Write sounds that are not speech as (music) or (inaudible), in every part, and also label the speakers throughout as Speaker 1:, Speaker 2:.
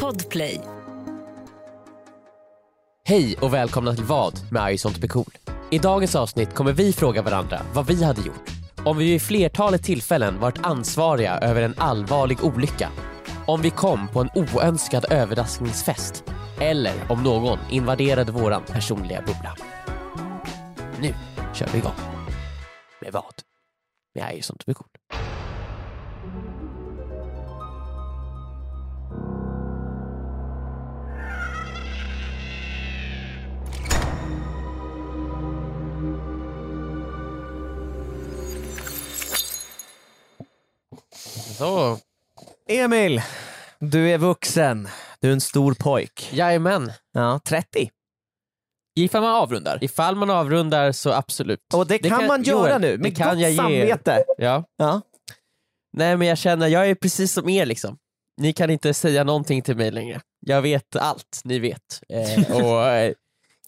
Speaker 1: Podplay.
Speaker 2: Hej och välkomna till Vad med I sånt blir cool. I dagens avsnitt kommer vi fråga varandra vad vi hade gjort om vi vid flertalet tillfällen varit ansvariga över en allvarlig olycka, om vi kom på en oönskad överraskningsfest eller om någon invaderade våran personliga bubbla. Nu kör vi igång. Med vad? Med I sånt blir cool. Så,
Speaker 3: Emil, du är vuxen. Du är en stor pojk.
Speaker 2: jajamän.
Speaker 3: Ja, 30.
Speaker 4: Ifall man avrundar.
Speaker 2: Ifall man avrundar så absolut.
Speaker 3: Och det, kan, man
Speaker 2: Joel,
Speaker 3: göra nu,
Speaker 2: det
Speaker 3: med
Speaker 2: kan
Speaker 3: gott
Speaker 2: jag ge er.
Speaker 3: samvete.
Speaker 2: Ja.
Speaker 3: Ja.
Speaker 2: Nej men jag känner, jag är precis som er liksom. Ni kan inte säga någonting till mig längre. Jag vet allt ni vet. Eh, och eh,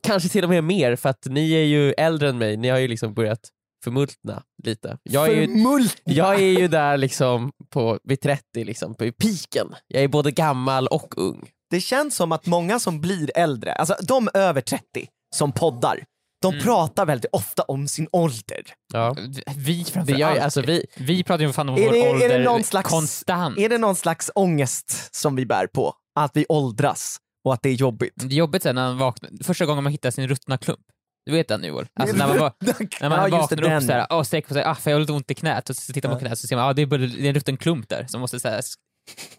Speaker 2: Kanske till och med mer för att ni är ju äldre än mig, ni har ju liksom börjat förmultna lite. Jag är ju,
Speaker 3: Förmult-
Speaker 2: jag är ju där liksom på, vid 30, liksom, på i piken. Jag är både gammal och ung.
Speaker 3: Det känns som att många som blir äldre, alltså de över 30 som poddar, de pratar väldigt ofta om sin ålder.
Speaker 2: Ja.
Speaker 4: Vi
Speaker 2: Det
Speaker 4: framförallt.
Speaker 2: gör, jag- alltså, vi,
Speaker 4: Vi pratar ju fan om
Speaker 3: Är
Speaker 4: vår
Speaker 3: det- är det
Speaker 4: ålder
Speaker 3: någon slags-
Speaker 4: konstant.
Speaker 3: Är det någon slags ångest som vi bär på? Att vi åldras och att det är jobbigt?
Speaker 4: Det är jobbigt sen när man vaknar, första gången man hittar sin ruttna klump. Du vet den Joel? Alltså när
Speaker 3: (laughs)
Speaker 4: man, va- när man
Speaker 3: Ja, just det,
Speaker 4: vaknar upp
Speaker 3: den.
Speaker 4: såhär, och sträcker på sig, ah, fan, jag har lite ont i knät, och så tittar man på knät så ser man, ah, det, är bara, det är en rutten klump där som måste såhär, s-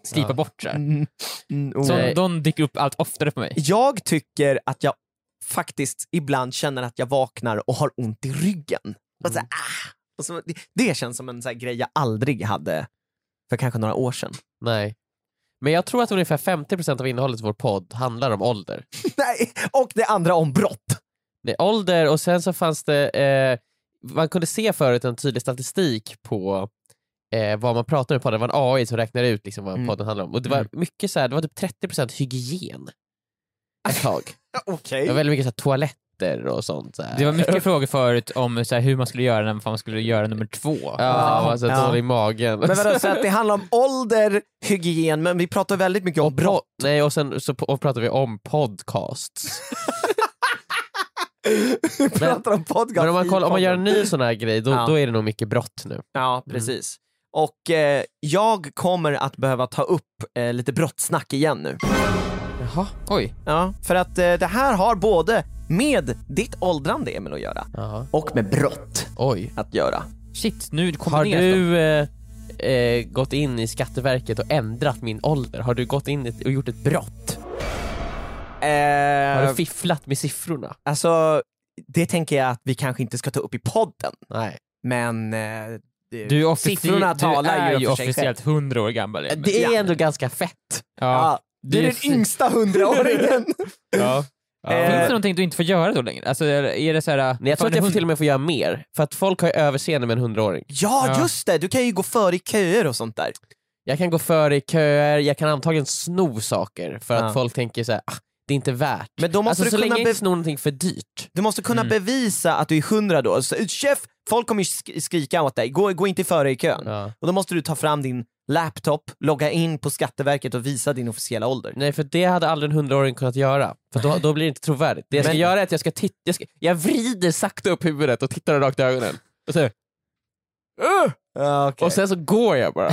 Speaker 4: slipa bort såhär.
Speaker 3: Mm, mm, oh.
Speaker 4: Så
Speaker 2: Nej.
Speaker 4: de dyker upp allt oftare på mig.
Speaker 3: Jag tycker att jag faktiskt ibland känner att jag vaknar och har ont i ryggen. Och
Speaker 2: Mm.
Speaker 3: så, här, ah! och så, det, det känns som en så här grej jag aldrig hade för kanske några
Speaker 2: (laughs)
Speaker 3: år sedan.
Speaker 2: nej. Men jag tror att ungefär 50% av innehållet i vår podd handlar om ålder.
Speaker 3: Nej, och det andra om brott.
Speaker 2: Nej, ålder och sen så fanns det, eh, man kunde se förut en tydlig statistik på eh, vad man pratade om i podden, det var en AI som räknade ut liksom vad
Speaker 3: Mm.
Speaker 2: podden handlade om. Och det var mycket så här, det var typ 30% hygien ett
Speaker 3: Ah.
Speaker 2: tag.
Speaker 3: Okej.
Speaker 2: Det var väldigt mycket så här, toaletter och sånt. Så här.
Speaker 4: Det var mycket frågor förut om såhär, hur man skulle göra när man skulle göra nummer två.
Speaker 2: ja, man var så här,
Speaker 3: Ah. Ja.
Speaker 2: dålig i magen.
Speaker 3: Men vadå, så att det handlar om ålder, hygien, men vi pratar väldigt mycket om brott.
Speaker 2: Po- Nej, (laughs) och sen så p- och pratade vi om podcasts.
Speaker 3: (laughs) Vi pratar om podcast.
Speaker 2: Men om man,
Speaker 3: i
Speaker 2: kollar, om man gör
Speaker 3: podden.
Speaker 2: en Mm. ny sån här grej, då,
Speaker 3: Ja.
Speaker 2: då är det nog mycket brott nu.
Speaker 3: Ja, precis. Och eh, jag kommer att behöva ta upp eh, lite brottsnack igen nu.
Speaker 2: Jaha.
Speaker 4: Oj.
Speaker 3: Ja, för att eh, det här har både med ditt åldrande Emil att göra och med brott
Speaker 2: Oj.
Speaker 3: att göra.
Speaker 4: Shit, nu kommer
Speaker 2: Har
Speaker 4: det ner.
Speaker 2: du eh, eh, gått in i Skatteverket och ändrat min ålder? Har du gått in i- och gjort ett brott? Har du
Speaker 3: Eh,
Speaker 2: fifflat med siffrorna?
Speaker 3: alltså, det tänker jag att vi kanske inte ska ta upp i podden,
Speaker 2: Nej.
Speaker 3: men eh, det-
Speaker 4: Du är offici-
Speaker 3: siffrorna
Speaker 4: du
Speaker 3: talar
Speaker 4: är
Speaker 3: ju
Speaker 4: ju
Speaker 3: för sig själv.
Speaker 4: officiellt 100 år gammal. Emil.
Speaker 2: Det är
Speaker 3: Ja.
Speaker 2: ändå ganska fett.
Speaker 3: Ja, du är
Speaker 4: det är
Speaker 3: den yngsta hundraåringen!
Speaker 2: (laughs)
Speaker 4: Ja.
Speaker 3: Eh,
Speaker 4: Finns det någonting du inte får göra då längre? Alltså är är det såhär...
Speaker 2: Nej, jag tror att jag får till och med får göra mer, för att folk har ju överseende med en hundraåring.
Speaker 3: ja,
Speaker 4: Ja.
Speaker 3: just det! Du kan ju gå före i köer och sånt där.
Speaker 2: Jag kan gå före i köer, jag kan antagligen sno saker för att
Speaker 3: Ja.
Speaker 2: folk tänker så här, ah, det är inte värt.
Speaker 3: Men då måste
Speaker 2: alltså
Speaker 3: du
Speaker 2: så
Speaker 3: kunna
Speaker 2: länge jag
Speaker 3: bev-
Speaker 2: inte snor någonting för dyrt.
Speaker 3: Du måste kunna bevisa att du är hundra då. Så, chef, folk kommer ju sk- skrika åt dig, gå, gå inte före i kön. Och då måste du ta fram din laptop, logga in på Skatteverket och visa din officiella ålder.
Speaker 2: Nej för det hade aldrig en hundraåring kunnat göra, för då, då blir det inte trovärdigt. Det jag ska
Speaker 3: Men-
Speaker 2: göra är att jag ska titta, jag, ska, jag vrider sakta upp huvudet och tittar rakt i ögonen. Och säger, "Ugh!"
Speaker 3: Ja, Okej, (laughs)
Speaker 2: Och sen så går jag bara.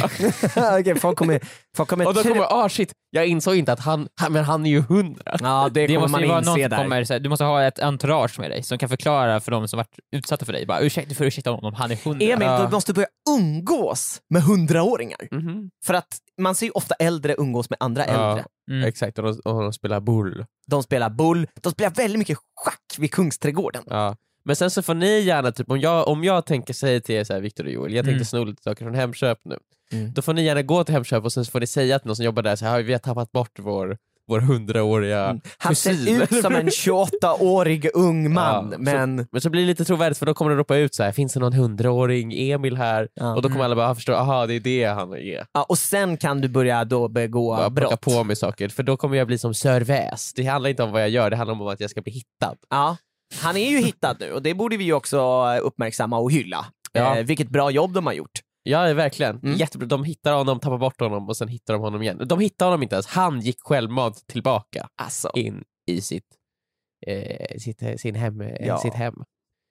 Speaker 3: Okej, folk kommer, folk
Speaker 2: (laughs)
Speaker 3: kommer,
Speaker 2: Och då
Speaker 3: tro-
Speaker 2: kommer ah shit, jag insåg inte att han, han men han är ju hundra.
Speaker 3: Ja, det
Speaker 4: Det
Speaker 3: kommer
Speaker 4: måste ju vara
Speaker 3: man
Speaker 4: någon
Speaker 3: inse
Speaker 4: som
Speaker 3: där.
Speaker 4: kommer, såhär, du måste ha ett entourage med dig som kan förklara för de som varit utsatta för dig. Bara, ursäkta, du får ursäkta honom, han är hundra.
Speaker 3: Emil,
Speaker 2: Ja. Mhm.
Speaker 3: du måste börja umgås med hundraåringar. För att man ser ju ofta äldre umgås med andra äldre.
Speaker 4: Mm.
Speaker 2: Exakt, och de, och de spelar bull.
Speaker 3: De spelar bull, de spelar väldigt mycket schack vid Kungsträdgården.
Speaker 2: Ja. Men sen så får ni gärna, typ, om, jag, om jag tänker säga till er så här, Victor och Joel, jag tänkte
Speaker 4: Mm.
Speaker 2: sno lite saker från Hemköp nu.
Speaker 3: Mm.
Speaker 2: Då får ni gärna gå till Hemköp och sen så får ni säga till någon som jobbar där så här, "Ah, vi har tappat bort vår, vår hundraåriga
Speaker 3: Han
Speaker 2: kusin.
Speaker 3: ser ut som en 28-årig ung man,
Speaker 2: Ja, så-
Speaker 3: men...
Speaker 2: Men så blir det lite trovärdigt för då kommer de ropa ut så här, finns det någon hundraåring Emil här?
Speaker 3: Ja.
Speaker 2: Och då
Speaker 4: Mm.
Speaker 2: kommer alla bara "Ah, förstå, aha det är det han är.
Speaker 3: Ja, och sen kan du börja då begå
Speaker 2: Bara plocka
Speaker 3: brott.
Speaker 2: på mig saker, för då kommer jag bli som Sir Väs. Det handlar inte om vad jag gör, det handlar om att jag ska bli hittad.
Speaker 3: Ja, han är ju hittad nu och det borde vi ju också uppmärksamma och hylla.
Speaker 2: Ja.
Speaker 3: Eh, vilket bra jobb de har gjort.
Speaker 2: Ja, verkligen.
Speaker 3: Mm.
Speaker 2: Jättebra. De hittar honom, tappar bort honom och sen hittar de honom igen. De hittar honom inte ens. Han gick självmant tillbaka
Speaker 3: Alltså.
Speaker 2: in i sitt, eh, sitt, sin hem, eh,
Speaker 3: Ja.
Speaker 2: sitt hem.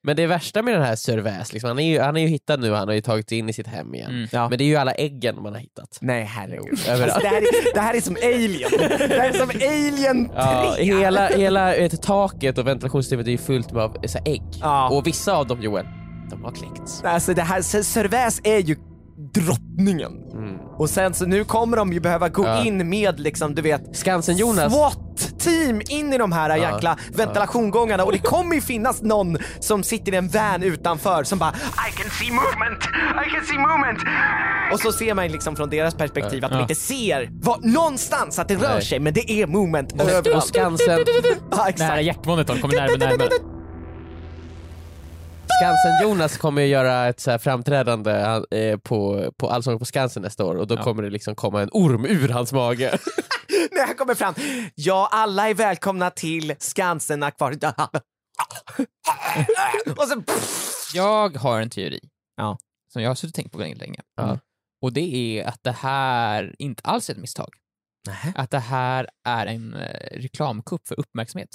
Speaker 2: Men det värsta med den här Sörväs, liksom, han, är ju, han är ju hittad nu, han har ju tagit sig in i sitt hem igen.
Speaker 4: Mm.
Speaker 3: Ja.
Speaker 2: Men det är ju alla äggen man har hittat.
Speaker 3: Nej herregud.
Speaker 2: Överallt.
Speaker 3: Alltså, det, här är, det här är som Alien. Det här är som Alien 3.
Speaker 2: Ja, hela hela vet, taket och ventilationssystemet är ju fullt med av, eh, så här, ägg.
Speaker 3: Ja.
Speaker 2: Och vissa av dem, Joel, de har kläckts.
Speaker 3: Alltså det här, Cervais är ju drottningen.
Speaker 2: Mm.
Speaker 3: Och sen så nu kommer de ju behöva gå
Speaker 2: Ja.
Speaker 3: in med liksom, du vet,
Speaker 2: Skansen-Jonas,
Speaker 3: SWAT-team in i de här jäkla ventilationgångarna och det kommer ju finnas någon som sitter i en van utanför som bara I can see movement, I can see movement. Och så ser man liksom från deras perspektiv att de
Speaker 4: Ja.
Speaker 3: inte ser var, någonstans att det rör
Speaker 2: Nej.
Speaker 3: sig men det är movement
Speaker 2: och, och
Speaker 3: överallt.
Speaker 2: Skansen,
Speaker 3: (laughs) Ja,
Speaker 4: Det här
Speaker 3: exakt.
Speaker 4: hjärtmonitorn kommer närmare och närmare.
Speaker 2: Skansen-Jonas kommer ju göra ett så här framträdande han, eh, på, på Allsång på Skansen nästa år och då kommer det liksom komma en orm ur hans mage.
Speaker 3: (laughs) När han kommer fram. Ja, alla är välkomna till Skansen akvariet. (laughs) Och sen...
Speaker 4: Jag har en teori
Speaker 3: Ja.
Speaker 4: som jag har suttit och tänkt på väldigt länge.
Speaker 2: Ja.
Speaker 4: Och det är att det här inte alls är ett misstag.
Speaker 3: Nähä.
Speaker 4: Att det här är en eh, reklamkupp för uppmärksamhet.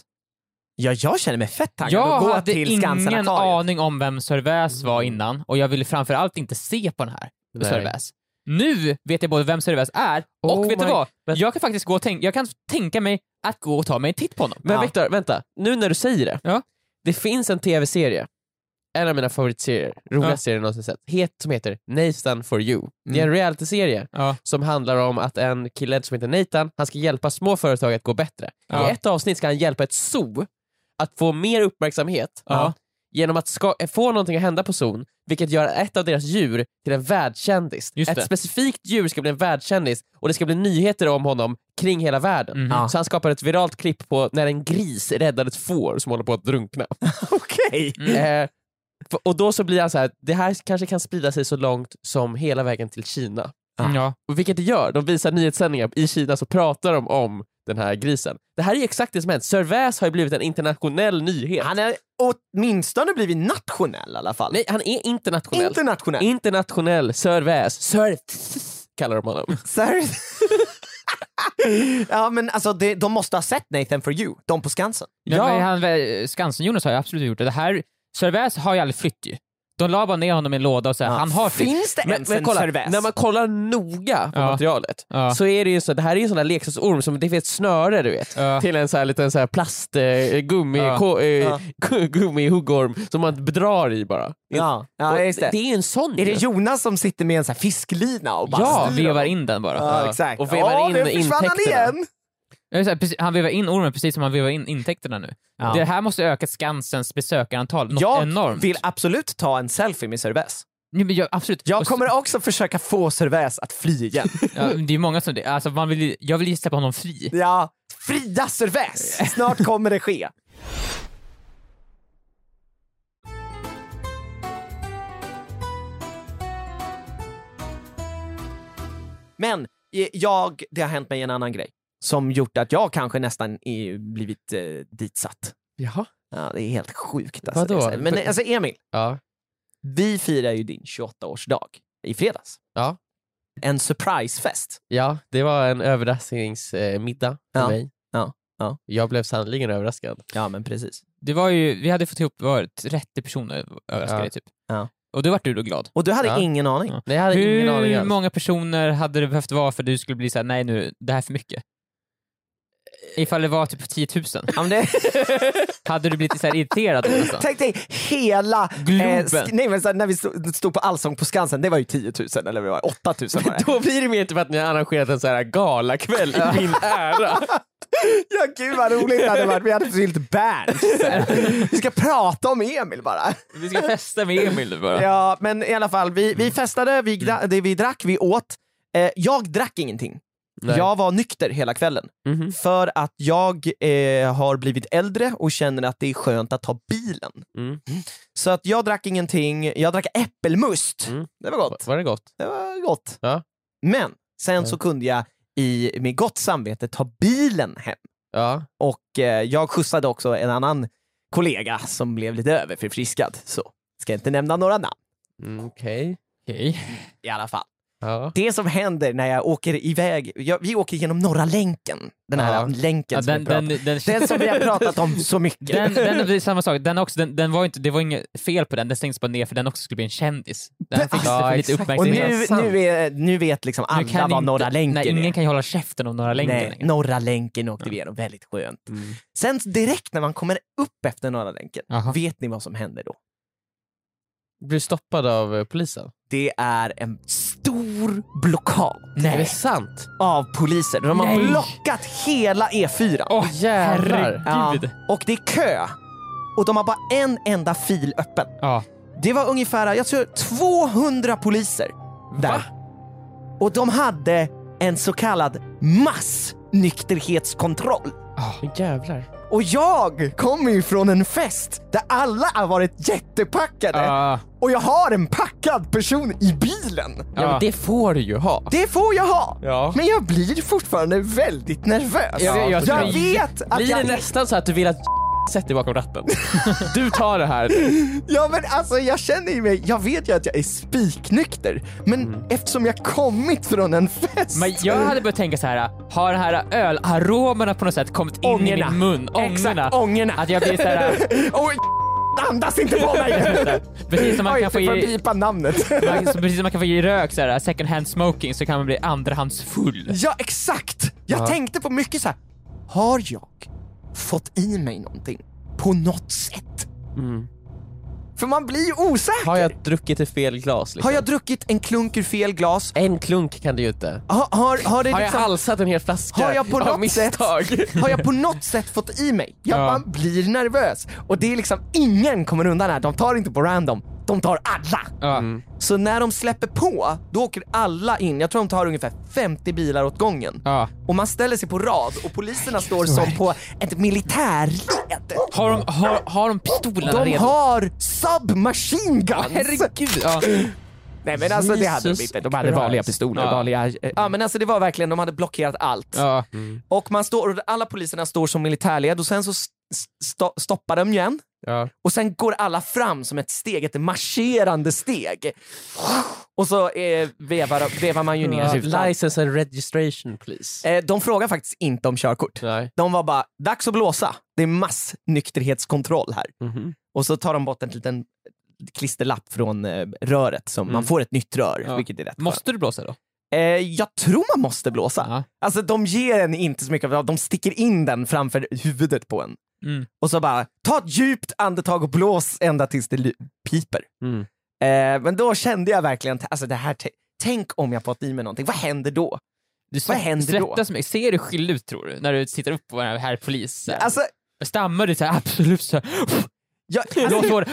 Speaker 3: Ja, jag känner mig fett taggad
Speaker 4: Jag
Speaker 3: att gå
Speaker 4: hade
Speaker 3: till Skansen
Speaker 4: ingen
Speaker 3: akvariet.
Speaker 4: aning om vem Servais var innan och jag ville framförallt inte se på den här
Speaker 2: Nej.
Speaker 4: Servais. Nu vet jag både vem Servais är och
Speaker 2: Oh
Speaker 4: vet du
Speaker 2: my-
Speaker 4: vad?
Speaker 2: Men-
Speaker 4: Jag kan faktiskt gå och tänka, jag kan tänka mig att gå och ta mig en titt på honom.
Speaker 2: Men
Speaker 3: Ja.
Speaker 2: Viktor, vänta. Nu när du säger det.
Speaker 4: Ja.
Speaker 2: Det finns en tv-serie, en av mina favoritserier, roligaste
Speaker 4: Ja. Mm.
Speaker 2: serier jag någonsin sett, het, som heter Nathan for you. Det är en realityserie
Speaker 4: Ja.
Speaker 2: som handlar om att en kille som heter Nathan, han ska hjälpa små företag att gå bättre.
Speaker 4: Ja.
Speaker 2: I ett avsnitt ska han hjälpa ett zoo att få mer uppmärksamhet
Speaker 4: Ja.
Speaker 2: genom att ska, få någonting att hända på zon, vilket gör ett av deras djur till en världskändis.
Speaker 4: Just
Speaker 2: ett
Speaker 4: det.
Speaker 2: specifikt djur ska bli en världskändis och det ska bli nyheter om honom kring hela världen.
Speaker 4: Mhm.
Speaker 3: Ja.
Speaker 2: Så han skapar ett viralt klipp på när en gris räddar ett får som håller på att
Speaker 4: (laughs)
Speaker 2: drunkna.
Speaker 3: (laughs) Okej.
Speaker 4: Mm.
Speaker 2: Eh, f- och då så blir han så här, det här kanske kan sprida sig så långt som hela vägen till Kina.
Speaker 4: Ja. Ja.
Speaker 2: Och vilket det gör, de visar nyhetssändningar i Kina så pratar de om den här grisen. Det här är ju exakt det som hänt. Servais har ju blivit en internationell nyhet.
Speaker 3: Han är åtminstone blivit nationell i alla fall.
Speaker 2: Nej, han är internationell.
Speaker 3: Internationell.
Speaker 2: internationell Servais. Sir kallar de
Speaker 3: (laughs)
Speaker 2: honom.
Speaker 3: Sir. ja men alltså det, de måste ha sett Nathan for you, de på Skansen.
Speaker 2: Ja.
Speaker 4: Men han, eh, Skansen-Jonas har ju absolut gjort det. det här, Servais har ju aldrig flytt ju. De la bara ner honom i en låda och så här, han har typ- flytt.
Speaker 3: Finns det
Speaker 2: Men,
Speaker 3: ens
Speaker 2: men
Speaker 3: en
Speaker 2: kolla,
Speaker 3: Cervais?
Speaker 2: när man kollar noga på
Speaker 4: Ja.
Speaker 2: materialet
Speaker 4: Ja.
Speaker 2: så är det ju så, det här är ju en sån där leksaksorm som det finns ett snöre du vet.
Speaker 4: Ja.
Speaker 2: Till en sån här liten så här plast eh, gummi,
Speaker 4: Ja.
Speaker 2: ko, eh, (laughs)
Speaker 3: Ja.
Speaker 2: gummihuggorm som man bedrar i bara.
Speaker 3: Ja, ja
Speaker 2: Och
Speaker 3: just det.
Speaker 2: är ju en sån
Speaker 3: Är det
Speaker 2: ju.
Speaker 3: Jonas som sitter med en sån här fisklina och bara
Speaker 4: Ja,
Speaker 3: styr
Speaker 4: vevar
Speaker 3: honom?
Speaker 4: in den bara.
Speaker 3: Ja, exakt.
Speaker 2: och vevar
Speaker 3: Ja,
Speaker 2: in
Speaker 3: nu försvann han
Speaker 2: intäkterna.
Speaker 3: igen!
Speaker 4: Jag vill säga, precis- Han vevar in ormen precis som han vevar in intäkterna nu.
Speaker 3: Ja.
Speaker 4: Det här måste öka Skansens besökarantal något
Speaker 3: Jag
Speaker 4: enormt.
Speaker 3: vill absolut ta en selfie med Cervais.
Speaker 4: Ja, men jag, absolut.
Speaker 3: Jag
Speaker 4: Och så-
Speaker 3: kommer också försöka få Cervais att fly
Speaker 2: (laughs)
Speaker 3: igen.
Speaker 4: ja, det är många som det. Alltså, man vill, ju- jag vill ju släppa honom fri.
Speaker 3: ja, fria Cervais! Snart kommer det ske. Men eh, jag, det har hänt mig en annan grej som gjort att jag kanske nästan är blivit eh, ditsatt.
Speaker 2: Jaha.
Speaker 3: Ja, det är helt sjukt. Alltså,
Speaker 2: Vadå?
Speaker 3: Det är så här. Men eh, alltså Emil,
Speaker 2: Ja.
Speaker 3: vi firar ju din 28-årsdag i fredags.
Speaker 2: Ja.
Speaker 3: En surprisefest.
Speaker 2: ja, det var en överraskningsmiddag för
Speaker 3: Ja.
Speaker 2: mig.
Speaker 3: Ja. Ja.
Speaker 2: Jag blev sannerligen överraskad.
Speaker 3: Ja, men precis.
Speaker 4: Det var ju, vi hade fått ihop vad var det, 30 personer överraskade
Speaker 2: Ja.
Speaker 4: typ.
Speaker 3: Ja.
Speaker 4: Och då vart du då glad.
Speaker 3: Och du hade
Speaker 2: Ja.
Speaker 3: ingen aning?
Speaker 4: Ja.
Speaker 2: Nej, jag hade ingen aning
Speaker 4: Hur
Speaker 2: alls.
Speaker 4: många personer hade det behövt vara för att du skulle bli såhär, nej nu, det här är för mycket? Ifall det var typ 10 000,
Speaker 3: Ja, men det, (laughs)
Speaker 4: hade du blivit såhär irriterad då (laughs) nästan?
Speaker 3: tänk dig hela... eh,
Speaker 4: Globen.
Speaker 3: sk- nej, men så här, när vi stod, stod på Allsång på Skansen, det var ju 10 000 eller vad det var 8 000 var det.
Speaker 2: Då blir det mer typ att ni har arrangerat en så här galakväll i min ära.
Speaker 3: (laughs) ja, gud vad roligt det hade varit. Vi hade fyllt Berns. (laughs) vi ska prata om Emil bara.
Speaker 4: (laughs) Vi ska festa med Emil nu bara.
Speaker 3: Ja, men i alla fall, vi, vi festade,
Speaker 2: Mm.
Speaker 3: vi, gra- det vi drack, vi åt. Eh, jag drack ingenting.
Speaker 2: Nej.
Speaker 3: Jag var nykter hela kvällen.
Speaker 2: Mhm.
Speaker 3: För att jag eh, har blivit äldre och känner att det är skönt att ta bilen.
Speaker 2: Mm.
Speaker 3: Så att jag drack ingenting, jag drack äppelmust.
Speaker 2: Mm.
Speaker 3: Det var gott.
Speaker 2: Var det gott?
Speaker 3: Det var gott.
Speaker 2: Ja.
Speaker 3: Men sen så kunde jag i, med gott samvete ta bilen hem.
Speaker 2: Ja.
Speaker 3: Och eh, jag skjutsade också en annan kollega som blev lite överförfriskad. Så ska jag inte nämna några namn.
Speaker 2: Mm, Okej.
Speaker 4: Okej.
Speaker 3: i alla fall.
Speaker 4: Ja.
Speaker 3: Det som händer när jag åker iväg, jag, vi åker genom Norra länken. Den här
Speaker 4: Ja.
Speaker 3: länken
Speaker 4: Ja,
Speaker 3: som,
Speaker 4: den,
Speaker 3: vi pratar,
Speaker 4: den, den, den,
Speaker 3: den som vi har pratat om så mycket.
Speaker 4: (laughs) den, det är samma sak. Den också, den, den var ju inte, det var inget fel på den, den stängdes bara ner för den också skulle bli en kändis. Den fick
Speaker 2: Ja,
Speaker 4: lite- lite
Speaker 2: exakt.
Speaker 3: Och
Speaker 4: uppmärksamhet.
Speaker 3: nu,
Speaker 2: sant.
Speaker 3: nu, är, nu vet liksom
Speaker 4: Nu
Speaker 3: alla
Speaker 4: kan
Speaker 3: vad
Speaker 4: inte-
Speaker 3: Norra länken
Speaker 4: nej,
Speaker 3: är.
Speaker 4: Ingen kan ju hålla käften om Norra länken
Speaker 3: Nej,
Speaker 4: längre. Mm.
Speaker 3: Norra länken åkte vi igenom, väldigt skönt. Sen direkt när man kommer upp efter Norra länken,
Speaker 4: Jaha.
Speaker 3: vet ni vad som händer då?
Speaker 2: Blir stoppad av eh, polisen?
Speaker 3: Det är en stor blockad
Speaker 2: Är det sant?
Speaker 3: av poliser. De har
Speaker 4: Nej.
Speaker 3: blockat hela E E4.
Speaker 4: Åh
Speaker 2: jävlar.
Speaker 4: herregud!
Speaker 3: Och det är kö. Och de har bara en enda fil öppen.
Speaker 4: Ja.
Speaker 3: Det var ungefär, jag tror 200 poliser där. Och de hade en så kallad massnykterhetskontroll.
Speaker 2: Jävlar.
Speaker 3: Och jag kommer ju från en fest där alla har varit jättepackade
Speaker 4: Ja.
Speaker 3: och jag har en packad person i bilen.
Speaker 2: Ja, men det får du ju ha.
Speaker 3: Det får jag ha!
Speaker 2: Ja.
Speaker 3: Men jag blir fortfarande väldigt nervös.
Speaker 2: Ja, jag-
Speaker 3: jag,
Speaker 2: jag-
Speaker 3: vet att
Speaker 2: Blir det
Speaker 3: jag...
Speaker 2: nästan så att du vill att (laughs) sätter dig bakom
Speaker 4: (laughs)
Speaker 2: ratten? Du tar det här.
Speaker 3: Ja men alltså jag känner ju mig, jag vet ju att jag är spiknykter, men eftersom jag kommit från en fest.
Speaker 4: Mm. Men jag hade börjat tänka så här. har de här ölaromerna på något sätt kommit in i
Speaker 3: Ångorna.
Speaker 4: min mun? Ångorna.
Speaker 3: Exakt, ångorna.
Speaker 4: Att jag blir så här.
Speaker 3: (laughs) Oj, andas inte på
Speaker 4: (laughs)
Speaker 3: mig!
Speaker 4: precis som man
Speaker 3: Oj,
Speaker 4: kan
Speaker 3: du
Speaker 4: få
Speaker 3: får
Speaker 4: i,
Speaker 3: pipa namnet. (laughs)
Speaker 4: man, så precis som man kan få i rök så här, uh, second hand smoking så kan man bli andrahandsfull.
Speaker 3: Ja, exakt! Jag tänkte på mycket så här. har jag fått i mig någonting på något sätt?
Speaker 4: Mm.
Speaker 3: För man blir ju osäker.
Speaker 2: Har jag druckit i fel glas? Liksom?
Speaker 3: Har jag druckit en klunk ur fel glas?
Speaker 2: En klunk kan du ju inte.
Speaker 3: Har, har, har, det
Speaker 2: Har jag
Speaker 3: liksom,
Speaker 2: halsat en hel flaska
Speaker 3: Har jag
Speaker 2: (laughs)
Speaker 3: på
Speaker 2: av
Speaker 3: något Mm.
Speaker 2: misstag?
Speaker 3: har jag på något sätt fått i mig? Jag
Speaker 4: Ja.
Speaker 3: bara blir nervös. Och det är liksom, ingen kommer undan här. De tar inte på random. De tar alla.
Speaker 4: Ja.
Speaker 2: Mm.
Speaker 3: Så när de släpper på, då åker alla in. Jag tror de tar ungefär 50 bilar åt gången.
Speaker 4: Ja.
Speaker 3: Och man ställer sig på rad och poliserna står som på ett militärled.
Speaker 4: Har, de, har, har de pistolerna
Speaker 3: De
Speaker 4: redo?
Speaker 3: har submachine guns!
Speaker 4: Herregud! Ja.
Speaker 3: Nej men alltså det hade
Speaker 2: Jesus
Speaker 3: de inte. De hade
Speaker 2: Christ.
Speaker 3: vanliga pistoler.
Speaker 4: Ja.
Speaker 3: Vanliga, eh, ja men alltså det var verkligen, de hade blockerat allt.
Speaker 4: Ja.
Speaker 3: Och man står, och alla poliserna står som militärled och sen så st- st- stoppar de igen.
Speaker 4: Ja.
Speaker 3: Och sen går alla fram som ett steg, ett marscherande steg. Och så eh, vevar, vevar man ju ner rutan.
Speaker 2: License and registration please.
Speaker 3: Eh, de frågar faktiskt inte om körkort.
Speaker 2: Nej.
Speaker 3: De var bara, dags att blåsa. Det är massnykterhetskontroll här.
Speaker 2: Mhm.
Speaker 3: Och så tar de bort en liten klisterlapp från eh, röret. Som, Man får ett nytt rör,
Speaker 4: Mm. Ja.
Speaker 3: vilket är rätt skönt.
Speaker 4: Måste du blåsa då?
Speaker 3: eh, Jag tror man måste blåsa.
Speaker 4: Ja.
Speaker 3: Alltså de ger en inte så mycket, av- de sticker in den framför huvudet på en.
Speaker 4: Mm.
Speaker 3: Och så bara, ta ett djupt andetag och blås ända tills det ly- piper.
Speaker 2: Mm.
Speaker 3: Eh, men då kände jag verkligen, alltså det här, t- tänk om jag fått i mig någonting, vad händer då?
Speaker 4: Du
Speaker 3: Vad händer då?
Speaker 4: svettas mycket. Ser du skyldig ut tror du? När du tittar upp på den här polis? så här.
Speaker 3: Alltså,
Speaker 4: Stammar du såhär absolut såhär...
Speaker 3: jag,
Speaker 4: Blås
Speaker 3: alltså,
Speaker 4: håret.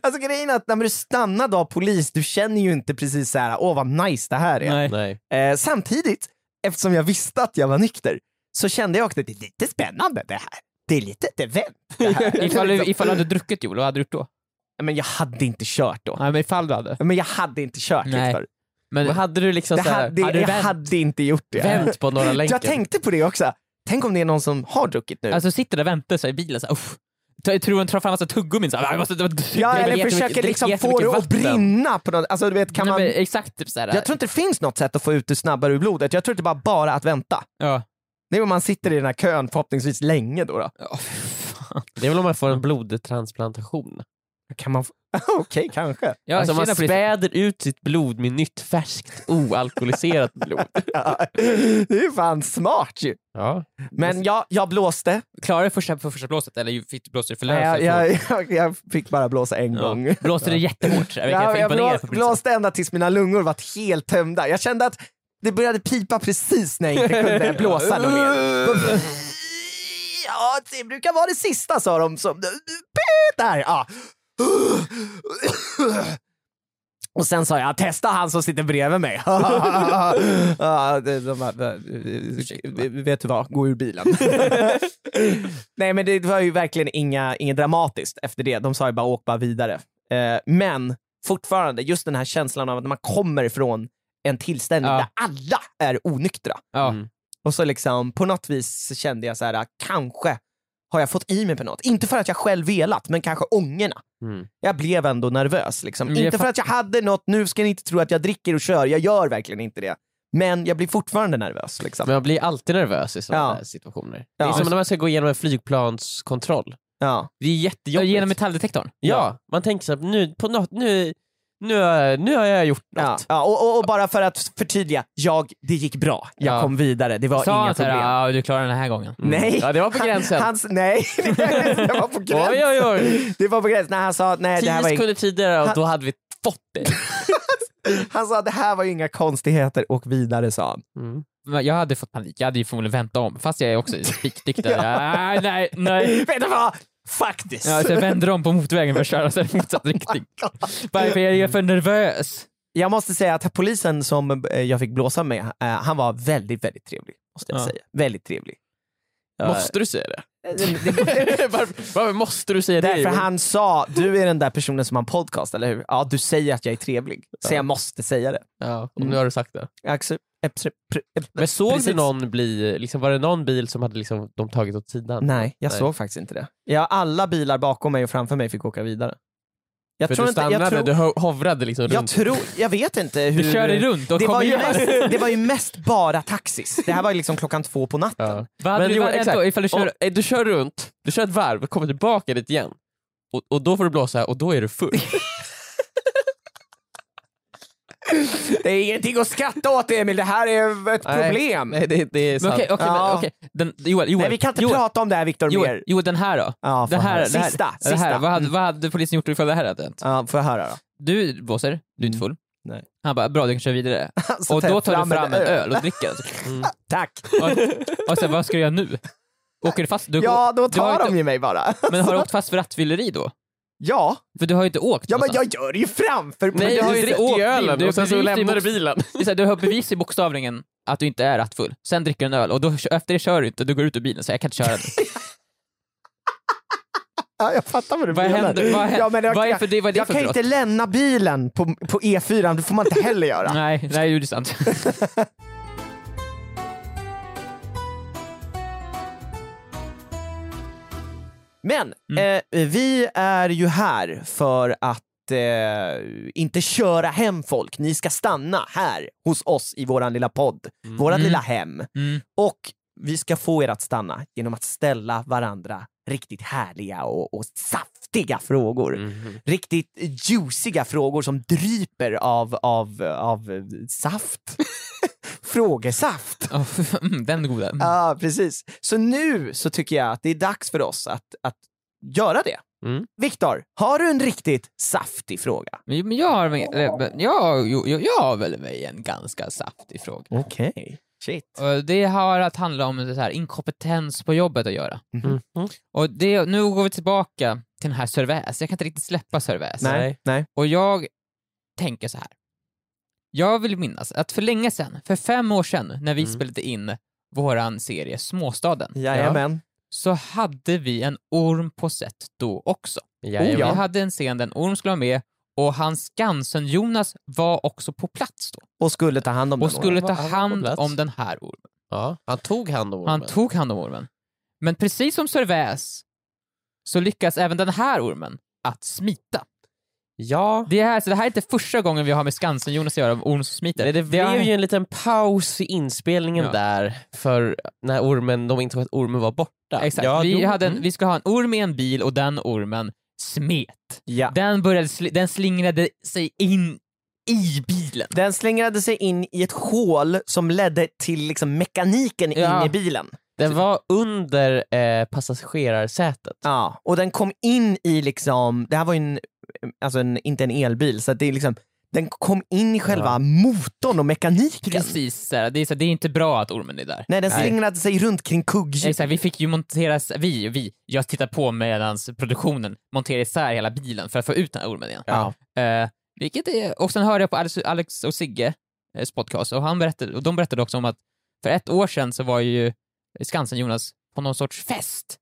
Speaker 3: alltså grejen är att när du stannar då av polis, du känner ju inte precis så här, åh vad nice det här är.
Speaker 4: Nej.
Speaker 2: Nej.
Speaker 3: Eh, samtidigt, eftersom jag visste att jag var nykter, så kände jag också att det är lite spännande det här. Det är lite ett event det här.
Speaker 4: (laughs) Ifall du, ifall du hade druckit Joel, vad hade du gjort då?
Speaker 3: Men jag hade inte kört då.
Speaker 4: Nej men ifall du hade.
Speaker 3: Men jag hade inte kört
Speaker 4: Nej.
Speaker 3: Viktor.
Speaker 4: Men,
Speaker 2: Men hade du liksom
Speaker 3: Det
Speaker 2: så här,
Speaker 3: hade,
Speaker 2: hade du
Speaker 3: jag
Speaker 2: vänt,
Speaker 3: hade inte gjort det.
Speaker 2: vänt på Norra länken?
Speaker 3: Jag tänkte på det också. Tänk om det är någon som har druckit nu.
Speaker 4: alltså sitter där och väntar så här, i bilen såhär uff. Jag tror hon tar fram massa tuggummin såhär. Jag måste,
Speaker 3: ja,
Speaker 4: dricker
Speaker 3: eller
Speaker 4: jättemycket-
Speaker 3: försöker
Speaker 4: dricker
Speaker 3: liksom få
Speaker 4: jättemycket
Speaker 3: det att
Speaker 4: vatten.
Speaker 3: brinna på något. Alltså, du vet, kan
Speaker 4: Nej,
Speaker 3: man...
Speaker 4: men, exakt typ såhär.
Speaker 3: Jag tror inte det finns något sätt att få ut det snabbare ur blodet. Jag tror inte bara, bara att vänta.
Speaker 4: Ja.
Speaker 3: Det är om man sitter i den här kön förhoppningsvis länge då. då.
Speaker 4: Åh, fy fan.
Speaker 2: Det är väl om man får en blodtransplantation?
Speaker 3: Kan man... få- (laughs) Okej, kanske.
Speaker 4: Ja,
Speaker 2: alltså man
Speaker 4: tjena, polis.
Speaker 2: späder ut sitt blod med nytt färskt oalkoholiserat blod.
Speaker 3: Ja, det är ju fan smart ju.
Speaker 2: Ja.
Speaker 3: Men jag, jag blåste.
Speaker 4: Klarade du första, för första blåset eller fick du blåsa för löst?
Speaker 3: Jag,
Speaker 4: Eller
Speaker 3: jag, jag, jag fick bara blåsa en
Speaker 4: så?
Speaker 3: gång.
Speaker 4: Ja. Blåste det jättehårt? Så här, vilket
Speaker 3: Ja,
Speaker 4: var
Speaker 3: jag
Speaker 4: imponerande
Speaker 3: blå,
Speaker 4: på polisen.
Speaker 3: blåste ända tills mina lungor var helt tömda. Jag kände att det började pipa precis när jag inte kunde blåsa något mer. Ja, det brukar vara det sista sa de. Som, där, ja. Och sen sa jag, testa han som sitter bredvid mig. (laughs) Ja, det- de bara, vet du vad, gå ur bilen. Nej men det var ju verkligen inga, inget dramatiskt efter det. De sa ju bara åk bara vidare. Eh, men fortfarande, just den här känslan av att man kommer från en tillställning
Speaker 4: Ja.
Speaker 3: där alla är onyktra.
Speaker 4: Ja.
Speaker 2: Mm.
Speaker 3: Och så liksom på något vis så kände jag så här, kanske har jag fått i mig på något? Inte för att jag själv velat, men kanske ångorna.
Speaker 2: Mm.
Speaker 3: Jag blev ändå nervös. Liksom.
Speaker 4: Mm, jag
Speaker 3: inte för
Speaker 4: fatt-
Speaker 3: att jag hade något, nu ska ni inte tro att jag dricker och kör, jag gör verkligen inte det. Men jag blir fortfarande nervös. Liksom.
Speaker 2: Men man blir alltid nervös i sådana
Speaker 3: Ja.
Speaker 2: här situationer.
Speaker 3: Ja.
Speaker 2: Det är som när man ska gå igenom en flygplanskontroll.
Speaker 3: Ja.
Speaker 2: Det är jättejobbigt.
Speaker 4: Genom metalldetektorn?
Speaker 2: Ja, man tänker såhär, nu, på något, nu, nu, har jag- nu har jag gjort
Speaker 3: Ja,
Speaker 2: något.
Speaker 3: ja, och, och, och bara för att förtydliga, jag, det gick bra. Jag
Speaker 2: Ja.
Speaker 3: kom vidare, det var
Speaker 4: Sa
Speaker 3: inga
Speaker 4: han såhär,
Speaker 3: problem.
Speaker 4: ja Mm. du klarar den här gången?
Speaker 3: Nej.
Speaker 2: Mm. Ja, det var på gränsen.
Speaker 3: Hans, nej, (laughs) det var på gränsen.
Speaker 2: Oj, oj, oj.
Speaker 3: Det var på gränsen. Nej, han sa nej, det
Speaker 2: Tio
Speaker 3: här var inga,
Speaker 2: sekunder tidigare och då hade vi fått det.
Speaker 3: han sa det här var inga konstigheter och vidare sa han.
Speaker 4: Men jag hade fått panik, jag hade ju förmodligen vänt om. Fast jag är också (laughs) spiknykter. Nej, nej, nej.
Speaker 3: Vet du vad? Faktiskt.
Speaker 4: Ja, så jag vänder om på motorvägen för att köra sen i motsatt riktning. (laughs) Varför är jag för nervös?
Speaker 3: (laughs) Jag måste säga att polisen som eh, jag fick blåsa med, eh, han var väldigt, väldigt trevlig. Måste jag
Speaker 4: Ja.
Speaker 3: säga. Väldigt trevlig. Ja.
Speaker 2: (laughs) Måste du säga det?
Speaker 3: Det-
Speaker 2: varför, varför måste du säga det?
Speaker 3: Därför han sa, du är den där personen som har en podcast, eller hur? Ja, du säger att jag är trevlig. Så
Speaker 2: Ja.
Speaker 3: jag måste säga det.
Speaker 2: Ja,
Speaker 3: Mm.
Speaker 2: och nu har du sagt det.
Speaker 3: Axel, Epsi- Pr- Ep-
Speaker 2: Men såg
Speaker 3: Precis.
Speaker 2: du någon bli, liksom, var det någon bil som hade liksom, de tagit åt sidan?
Speaker 3: Nej, jag
Speaker 2: Nej.
Speaker 3: såg faktiskt inte det. Ja, alla bilar bakom mig och framför mig fick åka vidare. Jag
Speaker 2: För
Speaker 3: tror
Speaker 2: du
Speaker 3: inte,
Speaker 2: stannade,
Speaker 3: jag tror,
Speaker 2: du ho- hovrade liksom
Speaker 3: jag
Speaker 2: runt.
Speaker 3: tror, jag vet inte hur...
Speaker 4: Du körde runt och
Speaker 3: det,
Speaker 4: kom
Speaker 3: var ju
Speaker 4: igen.
Speaker 3: mest, det var ju mest bara taxis. Det här var ju liksom klockan två på natten.
Speaker 2: Ja.
Speaker 4: Vad hade
Speaker 2: Men
Speaker 4: du
Speaker 2: jo,
Speaker 4: varit rädd
Speaker 2: exakt.
Speaker 4: då ifall du kör...
Speaker 2: Om, eh, du kör runt, du kör ett varv, kommer tillbaka dit igen. Och, och då får du blåsa och då är du full.
Speaker 3: Det är ingenting att skratta åt Emil, det här är ett
Speaker 2: Nej. (laughs)
Speaker 3: problem.
Speaker 2: Nej, det, det är
Speaker 4: Men
Speaker 2: sant.
Speaker 4: okej, okej, men
Speaker 3: Ja.
Speaker 4: okej. Den, Joel, Joel.
Speaker 3: Nej, vi kan inte
Speaker 4: Joel,
Speaker 3: prata om det här Viktor
Speaker 4: Joel,
Speaker 3: mer.
Speaker 4: Joel, den här då?
Speaker 3: Ja,
Speaker 4: Det
Speaker 3: får
Speaker 4: här,
Speaker 3: höra.
Speaker 4: det här,
Speaker 3: sista,
Speaker 4: det här.
Speaker 3: sista. Mm.
Speaker 4: Vad, hade, vad hade polisen gjort ifall det här hade hänt?
Speaker 3: Ja, får jag höra
Speaker 4: (laughs)
Speaker 3: då?
Speaker 4: Du blåser, du är inte full.
Speaker 3: Mm. Nej.
Speaker 4: Han bara, bra du kan köra vidare.
Speaker 3: (laughs) Så
Speaker 4: och då
Speaker 3: Alltså,
Speaker 4: tar
Speaker 3: fram
Speaker 4: du fram
Speaker 3: en
Speaker 4: en öl och dricker. Mm.
Speaker 3: Tack!
Speaker 4: Och, och sen, vad ska du göra nu? Åker du fast? Du,
Speaker 3: Ja, då
Speaker 4: du har
Speaker 3: tar
Speaker 4: inte-
Speaker 3: de ju mig bara. (laughs)
Speaker 4: Men har du åkt fast för rattfylleri då?
Speaker 3: Ja,
Speaker 4: För du har ju inte åkt
Speaker 3: ja men
Speaker 4: någonstans.
Speaker 3: jag gör det ju framför
Speaker 4: Alltså. Nej, jag har ju
Speaker 2: dricker
Speaker 4: åkt bil,
Speaker 2: ölen
Speaker 4: du
Speaker 2: och sen så
Speaker 4: bryter
Speaker 2: lämnar du
Speaker 4: mot-
Speaker 2: bilen.
Speaker 4: Det är så här, Du har bevis i bokstavringen att du inte är rattfull. Sen dricker du en öl och då, efter det kör du inte. Du går ut ur bilen och säger jag kan inte köra
Speaker 3: (laughs)
Speaker 4: nu.
Speaker 3: Ja, jag fattar vad du
Speaker 4: Vad
Speaker 3: menar.
Speaker 4: händer? Vad händer?
Speaker 3: Ja, men jag,
Speaker 4: Vad är för det- vad är det
Speaker 3: jag
Speaker 4: för
Speaker 3: kan
Speaker 4: brott?
Speaker 3: inte lämna bilen på, på E4, det får man inte heller göra.
Speaker 4: nej, nej, det är sant. (laughs)
Speaker 3: Men
Speaker 4: Mm.
Speaker 3: eh, vi är ju här för att eh, inte köra hem folk. Ni ska stanna här hos oss i våran lilla podd, vårat lilla hem.
Speaker 4: Mm.
Speaker 3: Och vi ska få er att stanna genom att ställa varandra riktigt härliga och, och saftiga frågor.
Speaker 4: Mm-hmm.
Speaker 3: Riktigt juiciga frågor som dryper av, av, av eh,
Speaker 4: (laughs)
Speaker 3: saft. Frågesaft.
Speaker 4: Åh, mm, den är goda. Mm.
Speaker 3: Ja, precis. Så nu så tycker jag att det är dags för oss att, att göra det.
Speaker 2: Mm.
Speaker 3: Viktor, har du en riktigt saftig fråga?
Speaker 4: Mm. Men men jag har, eller, men jag, jo, jag, jag har väl mig en ganska saftig fråga.
Speaker 3: Okej. Shit.
Speaker 4: Och det har att handla om så här, inkompetens på jobbet att göra.
Speaker 3: Mhm.
Speaker 4: Och det, nu går vi tillbaka till den här Sörväs. Jag kan inte riktigt släppa Sörväs.
Speaker 3: Nej, nej.
Speaker 4: Och jag tänker så här. Jag vill minnas att för länge sedan, för fem år sedan, när vi
Speaker 2: Mm.
Speaker 4: spelade in våran serie Småstaden,
Speaker 3: Jajamän.
Speaker 4: så hade vi en orm på set då också.
Speaker 2: Jajamän.
Speaker 4: Vi hade en scen där en orm skulle vara med och han Skansen-Jonas var också på plats då
Speaker 3: Och skulle ta hand om
Speaker 4: och
Speaker 3: den.
Speaker 4: skulle
Speaker 2: var-
Speaker 4: ta
Speaker 2: han var på
Speaker 4: hand
Speaker 2: plats.
Speaker 4: om den här ormen.
Speaker 2: Ja, han tog hand om ormen.
Speaker 4: Han tog hand om ormen. Men precis som Servais så lyckas även den här ormen att smita.
Speaker 2: Ja.
Speaker 4: Det här, så det här är inte första gången vi har med Skansen-Jonas att göra om orm som smiter.
Speaker 2: Nej, det blev
Speaker 4: har-
Speaker 2: ju en liten paus i inspelningen
Speaker 4: Ja.
Speaker 2: där, för när ormen, de insåg att ormen var borta.
Speaker 4: Exakt.
Speaker 2: Ja,
Speaker 4: vi,
Speaker 2: jo,
Speaker 4: hade en,
Speaker 2: mm.
Speaker 4: vi ska ha en orm i en bil och den ormen smet.
Speaker 3: Ja.
Speaker 4: Den, började sli, den slingrade sig in i bilen.
Speaker 3: Den slingrade sig in i ett hål som ledde till liksom mekaniken
Speaker 4: Ja.
Speaker 3: in i bilen.
Speaker 2: Den var under eh, passagerarsätet.
Speaker 3: Ja. Och den kom in i liksom, det här var ju en, alltså en, inte en elbil, så att det är liksom, den kom in i själva
Speaker 2: Ja.
Speaker 3: motorn och mekaniken.
Speaker 4: Precis, så här, det, är, så här, det är inte bra att ormen är där.
Speaker 3: Nej, den
Speaker 4: Nej.
Speaker 3: slingrade sig runt kring kugghjulet.
Speaker 4: Exakt, vi fick ju montera, s- vi, vi, jag tittar på medan produktionen monterar isär hela bilen för att få ut den här ormen igen.
Speaker 3: Ja.
Speaker 4: Eh, vilket är, och sen hörde jag på Alex, Alex och Sigge eh, podcast och, han berättade, och de berättade också om att för ett år sedan så var ju Skansen-Jonas på någon sorts fest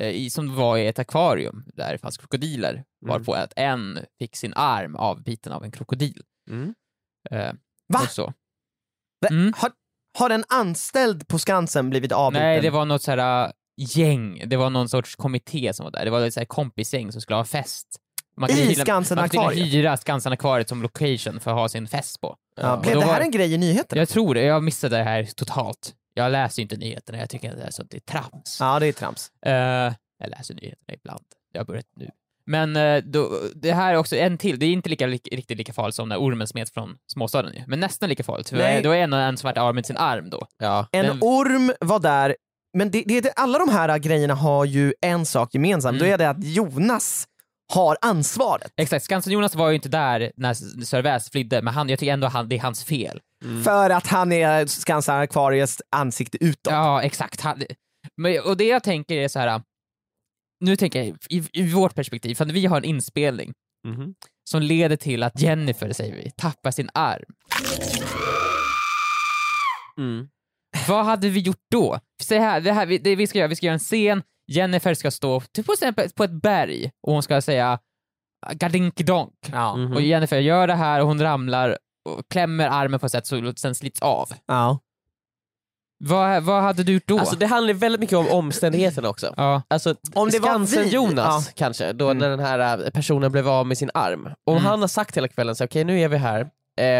Speaker 4: eh, i, som var i ett akvarium där det fanns krokodiler varpå att en fick sin arm avbiten av en krokodil.
Speaker 2: Mm.
Speaker 4: Eh,
Speaker 3: Va?
Speaker 4: och så.
Speaker 3: Va?
Speaker 4: Mm.
Speaker 3: Har, har en anställd på Skansen blivit avbiten?
Speaker 4: Nej, det var något såhär, gäng, det var någon sorts kommitté som var där. Det var ett så här kompisgäng som skulle ha fest. Man
Speaker 3: I
Speaker 4: kunde tydligen-
Speaker 3: Skansen
Speaker 4: man kunde
Speaker 3: Akvariet?
Speaker 4: hyra Skansen-akvariet som location för att ha sin fest på.
Speaker 3: Ja, blev
Speaker 4: då
Speaker 3: det här
Speaker 4: var-
Speaker 3: en grej i nyheterna?
Speaker 4: Jag tror det, jag missade det här totalt. Jag läser ju inte nyheterna, jag tycker att det är sånt det är trams.
Speaker 3: Ja, det är trams.
Speaker 4: Eh, jag läser nyheterna ibland. Jag har börjat nu. Men eh, då, det här är också en till. Det är inte lika, lik- riktigt lika farligt som när ormen smet från småstaden ju. Men nästan lika farligt. För
Speaker 3: Nej.
Speaker 4: Det var en och en som vart av med sin arm då.
Speaker 2: Ja.
Speaker 3: En
Speaker 4: Den-
Speaker 3: orm var där, men det, det, det, alla de här grejerna har ju en sak gemensamt,
Speaker 4: Mm.
Speaker 3: då är det att Jonas har ansvaret.
Speaker 4: Exakt, Skansen-Jonas var ju inte där när S- Sir Väs flydde, men han, jag tycker ändå han, det är hans fel.
Speaker 3: För att han är Skansen Akvariets ansikte utåt.
Speaker 4: Ja, exakt. Han, men, och det jag tänker är så här. nu tänker jag i, i vårt perspektiv, för vi har en inspelning
Speaker 2: Mhm.
Speaker 4: som leder till att Jennifer, säger vi, tappar sin arm.
Speaker 2: Mm.
Speaker 4: Vad hade vi gjort då? Säg här, det här vi, det vi ska göra, vi ska göra en scen, Jennifer ska stå till exempel på ett berg och hon ska säga gadinkedonk.
Speaker 3: Ja.
Speaker 2: Mhm.
Speaker 4: Och Jennifer gör det här och hon ramlar och klämmer armen på ett sätt så den slits av.
Speaker 3: Ja.
Speaker 4: Vad, vad hade du gjort då?
Speaker 2: Alltså det handlar väldigt mycket om omständigheterna också.
Speaker 4: ja.
Speaker 2: Alltså,
Speaker 3: Om det var vi-
Speaker 2: Skansen-Jonas kanske, då
Speaker 4: Mm.
Speaker 2: när den här äh, personen blev av med sin arm. Om
Speaker 4: Mm.
Speaker 2: han har sagt hela kvällen så här, okej nu är vi här, eh,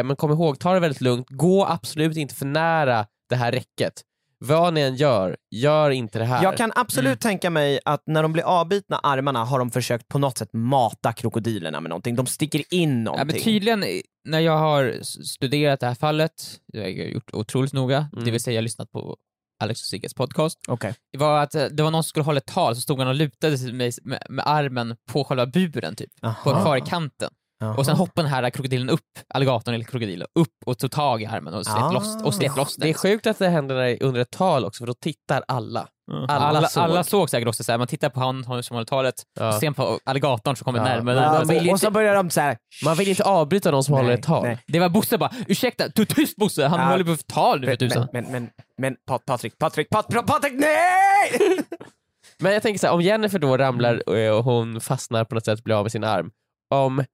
Speaker 2: men kom ihåg, ta det väldigt lugnt, gå absolut inte för nära det här räcket. Vad ni än gör, gör inte det här.
Speaker 3: Jag kan absolut
Speaker 4: Mm.
Speaker 3: tänka mig att när de blir avbitna armarna har de försökt på något sätt mata krokodilerna med någonting. De sticker in
Speaker 4: ja, men
Speaker 3: någonting.
Speaker 4: tydligen, eh, när jag har s- studerat det här fallet, det har jag gjort otroligt noga,
Speaker 2: Mm.
Speaker 4: det vill säga jag har lyssnat på Alex och Sigges podcast,
Speaker 3: Okej.
Speaker 4: det var att eh, det var någon som skulle hålla ett tal, så stod han och lutade sig med, med, med armen på själva buren typ, på
Speaker 2: Ah.
Speaker 3: Aha.
Speaker 4: kvar i kanten.
Speaker 3: Aha.
Speaker 4: Och sen hoppade den här krokodilen upp, alligatorn eller krokodilen, upp och tog tag i armen och slet,
Speaker 3: Ah.
Speaker 4: loss, och slet loss den.
Speaker 2: Det är sjukt att det händer när det är under ett tal också, för då tittar alla.
Speaker 4: alla,
Speaker 2: såg.
Speaker 4: alla, såg. säkert också såhär, man tittar på han han som håller talet,
Speaker 2: Ja.
Speaker 4: och sen på alligatorn som kommer
Speaker 2: Ja.
Speaker 4: närmare.
Speaker 2: Ja,
Speaker 3: Ja,
Speaker 4: Alltså,
Speaker 2: men-
Speaker 3: och så börjar de så här.
Speaker 2: Man vill inte avbryta någon som håller
Speaker 3: Nej,
Speaker 2: ett tal.
Speaker 3: nej.
Speaker 4: Det var Bosse bara, ursäkta, du tyst Bosse, han
Speaker 3: Ja.
Speaker 4: håller på för tal nu för
Speaker 3: Men,
Speaker 4: tusan.
Speaker 3: men, men, men Pat- Patrik, Patrik, Pat- Pat- Patrik, nej!
Speaker 2: Men jag tänker så här, om Jennifer då
Speaker 3: Mm.
Speaker 2: ramlar eh, och hon fastnar på något sätt, blir av med sin arm. Om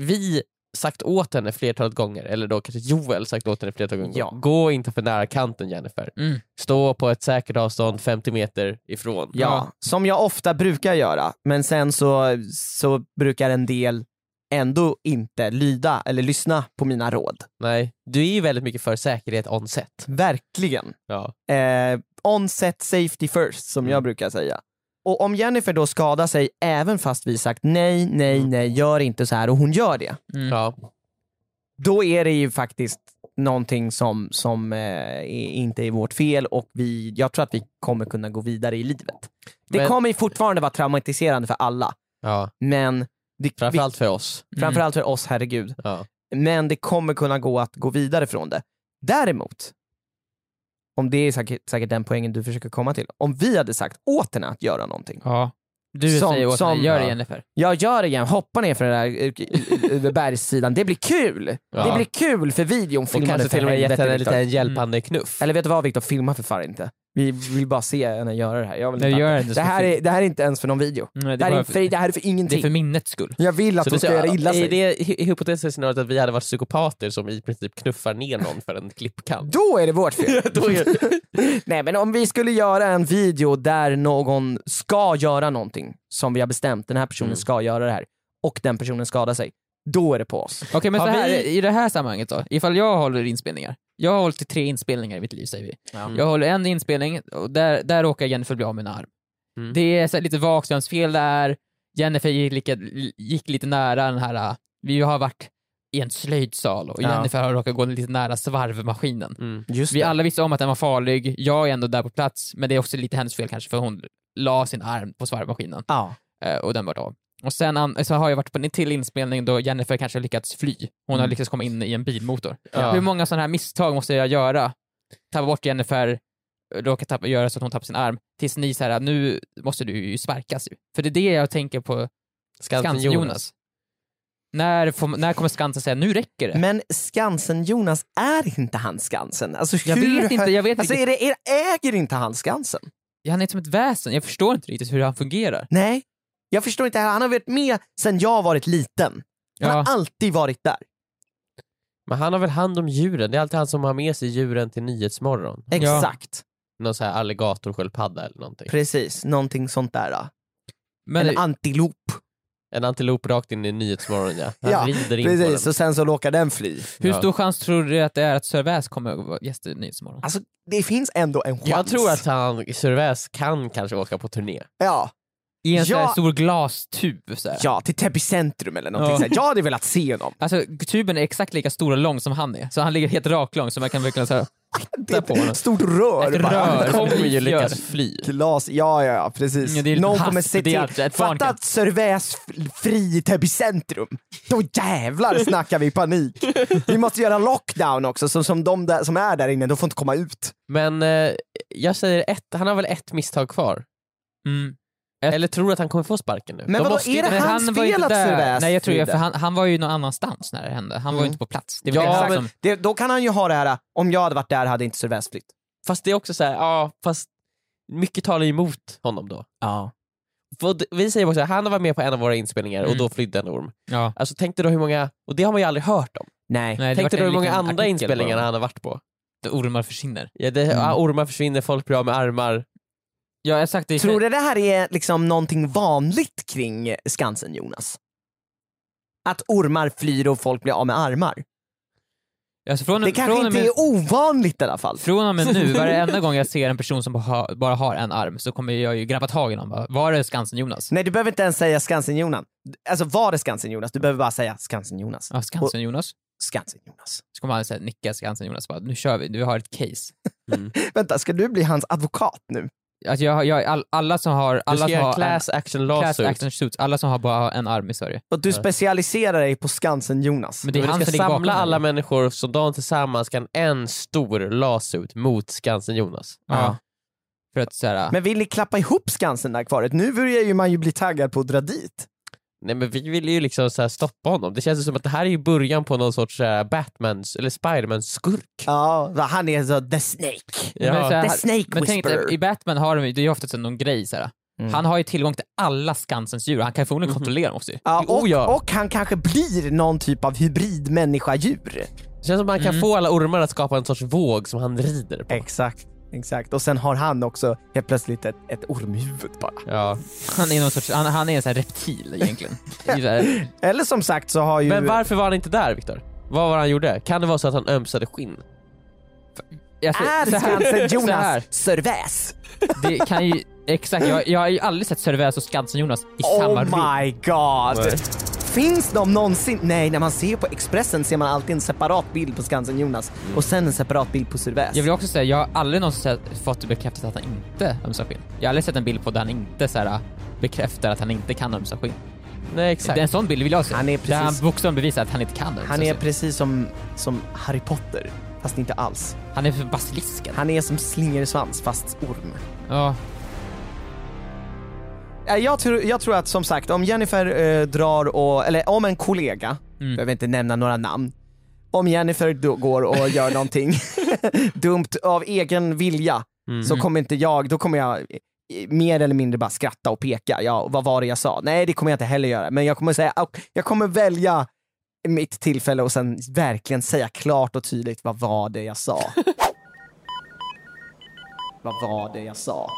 Speaker 2: vi sagt åt henne flertalet gånger, eller då kanske Joel sagt åt henne flertalet gånger,
Speaker 3: Ja.
Speaker 2: gå inte för nära kanten Jennifer.
Speaker 4: Mm.
Speaker 2: Stå på ett säkert avstånd 50 meter ifrån.
Speaker 3: (laughs) Ja, som jag ofta brukar göra, men sen så, så brukar en del ändå inte lyda eller lyssna på mina råd.
Speaker 2: Nej, du är ju väldigt mycket för säkerhet on set.
Speaker 3: Verkligen.
Speaker 2: Ja.
Speaker 3: Eh, on-set safety first, som jag brukar säga. Och om Jennifer då skadar sig, även fast vi sagt nej, nej, nej, gör inte så här och hon gör det,
Speaker 4: Mm.
Speaker 2: Ja.
Speaker 3: då är det ju faktiskt någonting som, som eh, är- inte är vårt fel och vi, jag tror att vi kommer kunna gå vidare i livet. Det
Speaker 2: Men-
Speaker 3: kommer ju fortfarande vara traumatiserande för alla,
Speaker 2: Ja.
Speaker 3: men det, vi,
Speaker 2: Framförallt för oss.
Speaker 3: Framförallt för oss, herregud.
Speaker 2: Ja.
Speaker 3: Men det kommer kunna gå att gå vidare från det. Däremot, om det är säkert, säkert den poängen du försöker komma till, om vi hade sagt åt henne att göra någonting.
Speaker 4: Ja. Du
Speaker 3: Som-
Speaker 4: säger åt henne,
Speaker 3: som-
Speaker 4: gör det
Speaker 3: ja.
Speaker 4: Jennifer.
Speaker 3: Jag gör det igen, hoppa ner från den där eh, eh, bergssidan, det blir kul!
Speaker 2: Ja.
Speaker 3: Det blir kul för videon,
Speaker 2: Och
Speaker 3: filma
Speaker 2: kanske
Speaker 3: det
Speaker 2: till
Speaker 3: för
Speaker 2: och med gett
Speaker 3: helvete,
Speaker 2: henne en
Speaker 3: Viktor.
Speaker 2: liten hjälpande knuff.
Speaker 3: Mm. Eller vet du vad Viktor, filma för fan inte. Vi vill bara se henne göra det här. Jag vill
Speaker 4: Nej,
Speaker 3: inte.
Speaker 4: gör det,
Speaker 3: det, här är, det här är inte ens för någon video.
Speaker 4: Nej,
Speaker 3: Det här är,
Speaker 4: bara
Speaker 3: för, det här är för
Speaker 4: det är
Speaker 3: ingenting.
Speaker 4: för minnets skull.
Speaker 3: Jag vill att
Speaker 2: Så
Speaker 3: hon
Speaker 2: du
Speaker 3: ska göra
Speaker 2: säger,
Speaker 3: illa
Speaker 2: är
Speaker 3: sig.
Speaker 2: det hy- hypotetiska scenariot att vi hade varit psykopater som i princip knuffar ner någon för en klippkant?
Speaker 3: (laughs) Då är det vårt fel.
Speaker 2: (laughs)
Speaker 4: (laughs)
Speaker 2: Då är-
Speaker 3: (laughs) Nej men om vi skulle göra en video där någon ska göra någonting som vi har bestämt, den här personen
Speaker 2: Mm.
Speaker 3: ska göra det här och den personen skadar sig, då är det på oss.
Speaker 4: Okej men
Speaker 2: Har
Speaker 4: så här,
Speaker 2: vi-
Speaker 4: i det här sammanhanget då, ifall jag håller inspelningar. Jag har hållit i tre inspelningar i mitt liv säger vi.
Speaker 3: Ja.
Speaker 4: Jag håller en inspelning och där, där råkar Jennifer bli av med en arm.
Speaker 2: Mm.
Speaker 4: Det är så här lite vagt vems fel det är, Jennifer gick, lika, gick lite nära den här, äh, vi har varit i en slöjdsal och
Speaker 3: Ja.
Speaker 4: Jennifer har råkat gå lite nära svarvmaskinen.
Speaker 2: Mm.
Speaker 3: Just
Speaker 4: Vi alla visste om att den var farlig, jag är ändå där på plats, men det är också lite hennes fel kanske för hon la sin arm på svarvmaskinen
Speaker 3: Ja.
Speaker 4: eh, och den vart av. Och sen an- så har jag varit på en till inspelning då Jennifer kanske har lyckats fly. Hon har
Speaker 3: Mm.
Speaker 4: lyckats komma in i en bilmotor.
Speaker 2: Ja.
Speaker 4: Hur många sådana här misstag måste jag göra? Tappa bort Jennifer, råka tappa, göra så att hon tappar sin arm, tills ni så här, nu måste du ju sparkas ju. För det är det jag tänker på Skansen-Jonas. När, får- när kommer Skansen säga nu räcker det?
Speaker 3: Men Skansen-Jonas är inte han Skansen. Alltså,
Speaker 4: jag
Speaker 3: hur
Speaker 4: vet inte, jag vet
Speaker 3: Alltså,
Speaker 4: inte.
Speaker 3: är det, är, äger inte han Skansen?
Speaker 4: Han är som ett väsen, jag förstår inte riktigt hur han fungerar.
Speaker 3: Nej. Jag förstår inte, han har varit med sedan jag varit liten. Han
Speaker 4: Ja.
Speaker 3: har alltid varit där.
Speaker 2: Men han har väl hand om djuren? Det är alltid han som har med sig djuren till Nyhetsmorgon.
Speaker 3: Exakt.
Speaker 2: Någon så här alligatorsköldpadda eller någonting.
Speaker 3: Precis, någonting sånt där. Då.
Speaker 4: Men,
Speaker 3: en antilop.
Speaker 2: En antilop rakt in i Nyhetsmorgon ja. Han
Speaker 3: Ja,
Speaker 2: rider in på den.
Speaker 3: Precis, och sen så råkar den fly.
Speaker 4: hur
Speaker 2: Ja.
Speaker 4: stor chans tror du att det är att Sir Väs kommer att vara gäst i Nyhetsmorgon?
Speaker 3: Alltså det finns ändå en chans.
Speaker 2: Jag tror att han, Cervais kan kanske åka på turné.
Speaker 3: Ja,
Speaker 4: I en sån här
Speaker 3: Ja.
Speaker 4: stor glastub så här.
Speaker 3: ja till Täby centrum eller någonting.
Speaker 4: Ja.
Speaker 3: sånt. Jag hade velat se honom.
Speaker 4: Alltså tuben är exakt lika stor och lång som han är, så han ligger helt raklång så man kan verkligen såhär...
Speaker 3: Det är
Speaker 4: på honom.
Speaker 3: ett stort rör.
Speaker 4: Ett
Speaker 3: bara.
Speaker 4: rör.
Speaker 2: Han kommer ju
Speaker 4: Gör.
Speaker 2: lyckas fly.
Speaker 3: Glas, ja ja, ja precis.
Speaker 4: Ja, det är lite
Speaker 3: Någon
Speaker 4: hasp,
Speaker 3: kommer se
Speaker 4: det är
Speaker 3: till.
Speaker 4: alltså ett barn
Speaker 3: Fatta
Speaker 4: kan-
Speaker 3: att Cervais f- fri i Täby centrum. Då jävlar snackar vi panik. Vi måste göra lockdown också, så som de där, som är där inne, de får inte komma ut.
Speaker 2: Men eh, jag säger ett, han har väl ett misstag kvar?
Speaker 4: Mm.
Speaker 2: Eller tror du att han kommer få sparken nu?
Speaker 3: Men
Speaker 2: De
Speaker 3: vadå,
Speaker 2: måste ju-
Speaker 3: är det
Speaker 4: Men
Speaker 3: hans
Speaker 4: han var ju
Speaker 3: fel
Speaker 4: inte
Speaker 3: att
Speaker 4: där.
Speaker 3: Cervais
Speaker 4: Nej jag tror jag,
Speaker 3: flydde?
Speaker 4: för han, han var ju någon annanstans när det hände,
Speaker 3: Mm.
Speaker 4: han var ju inte på plats. Det var
Speaker 2: Ja,
Speaker 4: ja,
Speaker 2: men-
Speaker 4: som,
Speaker 3: Det, då kan han ju ha det här, om jag hade varit där hade inte Cervais flytt.
Speaker 2: Fast det är också så här, ja fast mycket talar ju emot honom då.
Speaker 3: Ja.
Speaker 2: För d- vi säger också att han var med på en av våra inspelningar och
Speaker 4: Mm.
Speaker 2: då flydde en orm.
Speaker 4: ja.
Speaker 2: Alltså tänk dig då hur många, och det har man ju aldrig hört om.
Speaker 3: Nej.
Speaker 4: Nej, det
Speaker 2: tänk
Speaker 4: vart
Speaker 2: dig då
Speaker 4: en
Speaker 2: hur många
Speaker 4: liten
Speaker 2: andra
Speaker 4: artikel
Speaker 2: inspelningar
Speaker 4: bara.
Speaker 2: han har varit på.
Speaker 4: Där Ormar försvinner.
Speaker 2: Ja, det,
Speaker 4: Mm.
Speaker 2: ja, ormar försvinner, folk blir av med armar.
Speaker 4: Ja exakt, det
Speaker 3: Tror du det här är liksom någonting vanligt kring Skansen Jonas? Att ormar flyr och folk blir av med armar?
Speaker 4: alltså, från,
Speaker 3: Det kanske
Speaker 4: från, och
Speaker 3: inte
Speaker 4: med,
Speaker 3: är ovanligt i alla fall.
Speaker 4: från och
Speaker 3: (laughs)
Speaker 4: med nu, varenda gång jag ser en person som bara har, bara har en arm så kommer jag ju grabba tag i någon bara, var är Skansen-Jonas?
Speaker 3: Nej du behöver inte ens säga Skansen-Jonas. Alltså var det Skansen-Jonas? Du behöver bara säga Skansen-Jonas.
Speaker 4: Ja, Skansen-Jonas.
Speaker 3: Skansen-Jonas.
Speaker 4: Så kommer han säga nicka Skansen-Jonas bara, nu kör vi, du har ett case.
Speaker 3: Vänta, ska du bli hans advokat nu?
Speaker 4: Alltså, jag, har- jag, all, alla som har,
Speaker 2: Du
Speaker 4: alla
Speaker 2: ska
Speaker 4: som har
Speaker 2: göra
Speaker 4: en-
Speaker 2: class action
Speaker 4: class
Speaker 2: lawsuit.
Speaker 4: action suits, alla som har bara en arm i Sverige.
Speaker 3: Och du specialiserar dig på Skansen-Jonas.
Speaker 4: Men det är
Speaker 2: Men
Speaker 4: han
Speaker 2: du ska
Speaker 4: som ligger bakom.
Speaker 2: samla
Speaker 4: den.
Speaker 2: alla människor som de tillsammans kan en stor lawsuit mot Skansen-Jonas.
Speaker 4: Ja. För att såhär,
Speaker 3: Men vill ni klappa ihop Skansen där kvaret? Nu börjar ju man ju bli taggad på att dra dit.
Speaker 2: Nej men vi ville ju liksom så här stoppa honom. Det känns ju som att det här är ju början på någon sorts så här Batmans eller Spidermans skurk.
Speaker 3: Ja, va, han är så the snake.
Speaker 2: Ja.
Speaker 4: Men så här,
Speaker 3: The Snake
Speaker 4: men tänk dig,
Speaker 3: Whisperer.
Speaker 4: i Batman har de ju, det är ju ofta så någon grej såhär.
Speaker 3: Mm.
Speaker 4: Han har ju tillgång till alla Skansens djur, han kan ju förmodligen kontrollera dem också ju.
Speaker 3: Ja, och,
Speaker 2: Oh, ja.
Speaker 3: och han kanske blir någon typ av hybridmänniska-djur.
Speaker 2: Det känns som att man
Speaker 4: Mm.
Speaker 2: kan få alla ormar att skapa en sorts våg som han rider på.
Speaker 3: Exakt. Exakt. Och sen har han också helt plötsligt ett, ett ormhuvud bara.
Speaker 2: Ja.
Speaker 4: Han är någon sorts, han, han är en sån här reptil egentligen. Det är ju
Speaker 3: (laughs)
Speaker 4: så här-
Speaker 3: Eller som sagt så har ju...
Speaker 2: Men varför var han inte där Viktor? Vad var det han gjorde? Kan det vara så att han ömsade skinn?
Speaker 4: alltså,
Speaker 3: är
Speaker 4: så här-
Speaker 3: Skansen
Speaker 4: så här,
Speaker 3: Jonas Cervais?
Speaker 4: Det kan ju, exakt, jag, jag har ju aldrig sett Cervais och Skansen-Jonas i
Speaker 3: Oh
Speaker 4: samma rum.
Speaker 3: my god!
Speaker 2: Nej.
Speaker 3: Finns de någonsin? Nej, när man ser på Expressen ser man alltid en separat bild på Skansen Jonas och sen en separat bild på Cervais.
Speaker 4: Jag vill också säga, jag har aldrig någonsin sett, fått bekräftat att han inte ömsar skinn. Jag har aldrig sett en bild på där han inte så här, äh, bekräftar att han inte kan ömsa skinn.
Speaker 2: Nej
Speaker 4: Det är
Speaker 2: exakt.
Speaker 4: en sån bild vill jag se.
Speaker 3: Han är
Speaker 4: Där han
Speaker 3: precis-
Speaker 4: bokstavligen bevisar att han inte kan ömsa
Speaker 3: Han är
Speaker 4: skinn.
Speaker 3: precis som, som Harry Potter, fast inte alls.
Speaker 4: Han är för basilisken.
Speaker 3: Han är som slingersvans fast orm.
Speaker 4: Ja.
Speaker 3: Ja, Jag tror, jag tror att som sagt, om Jennifer eh, drar och, eller om en kollega, behöver inte nämna några namn, om Jennifer då går och gör någonting (laughs) dumt av egen vilja så kommer inte jag, då kommer jag eh, mer eller mindre bara skratta och peka. Ja, vad var det jag sa? Nej, det kommer jag inte heller göra. Men jag kommer säga, och jag kommer välja mitt tillfälle och sen verkligen säga klart och tydligt vad var det jag sa? vad var det jag sa?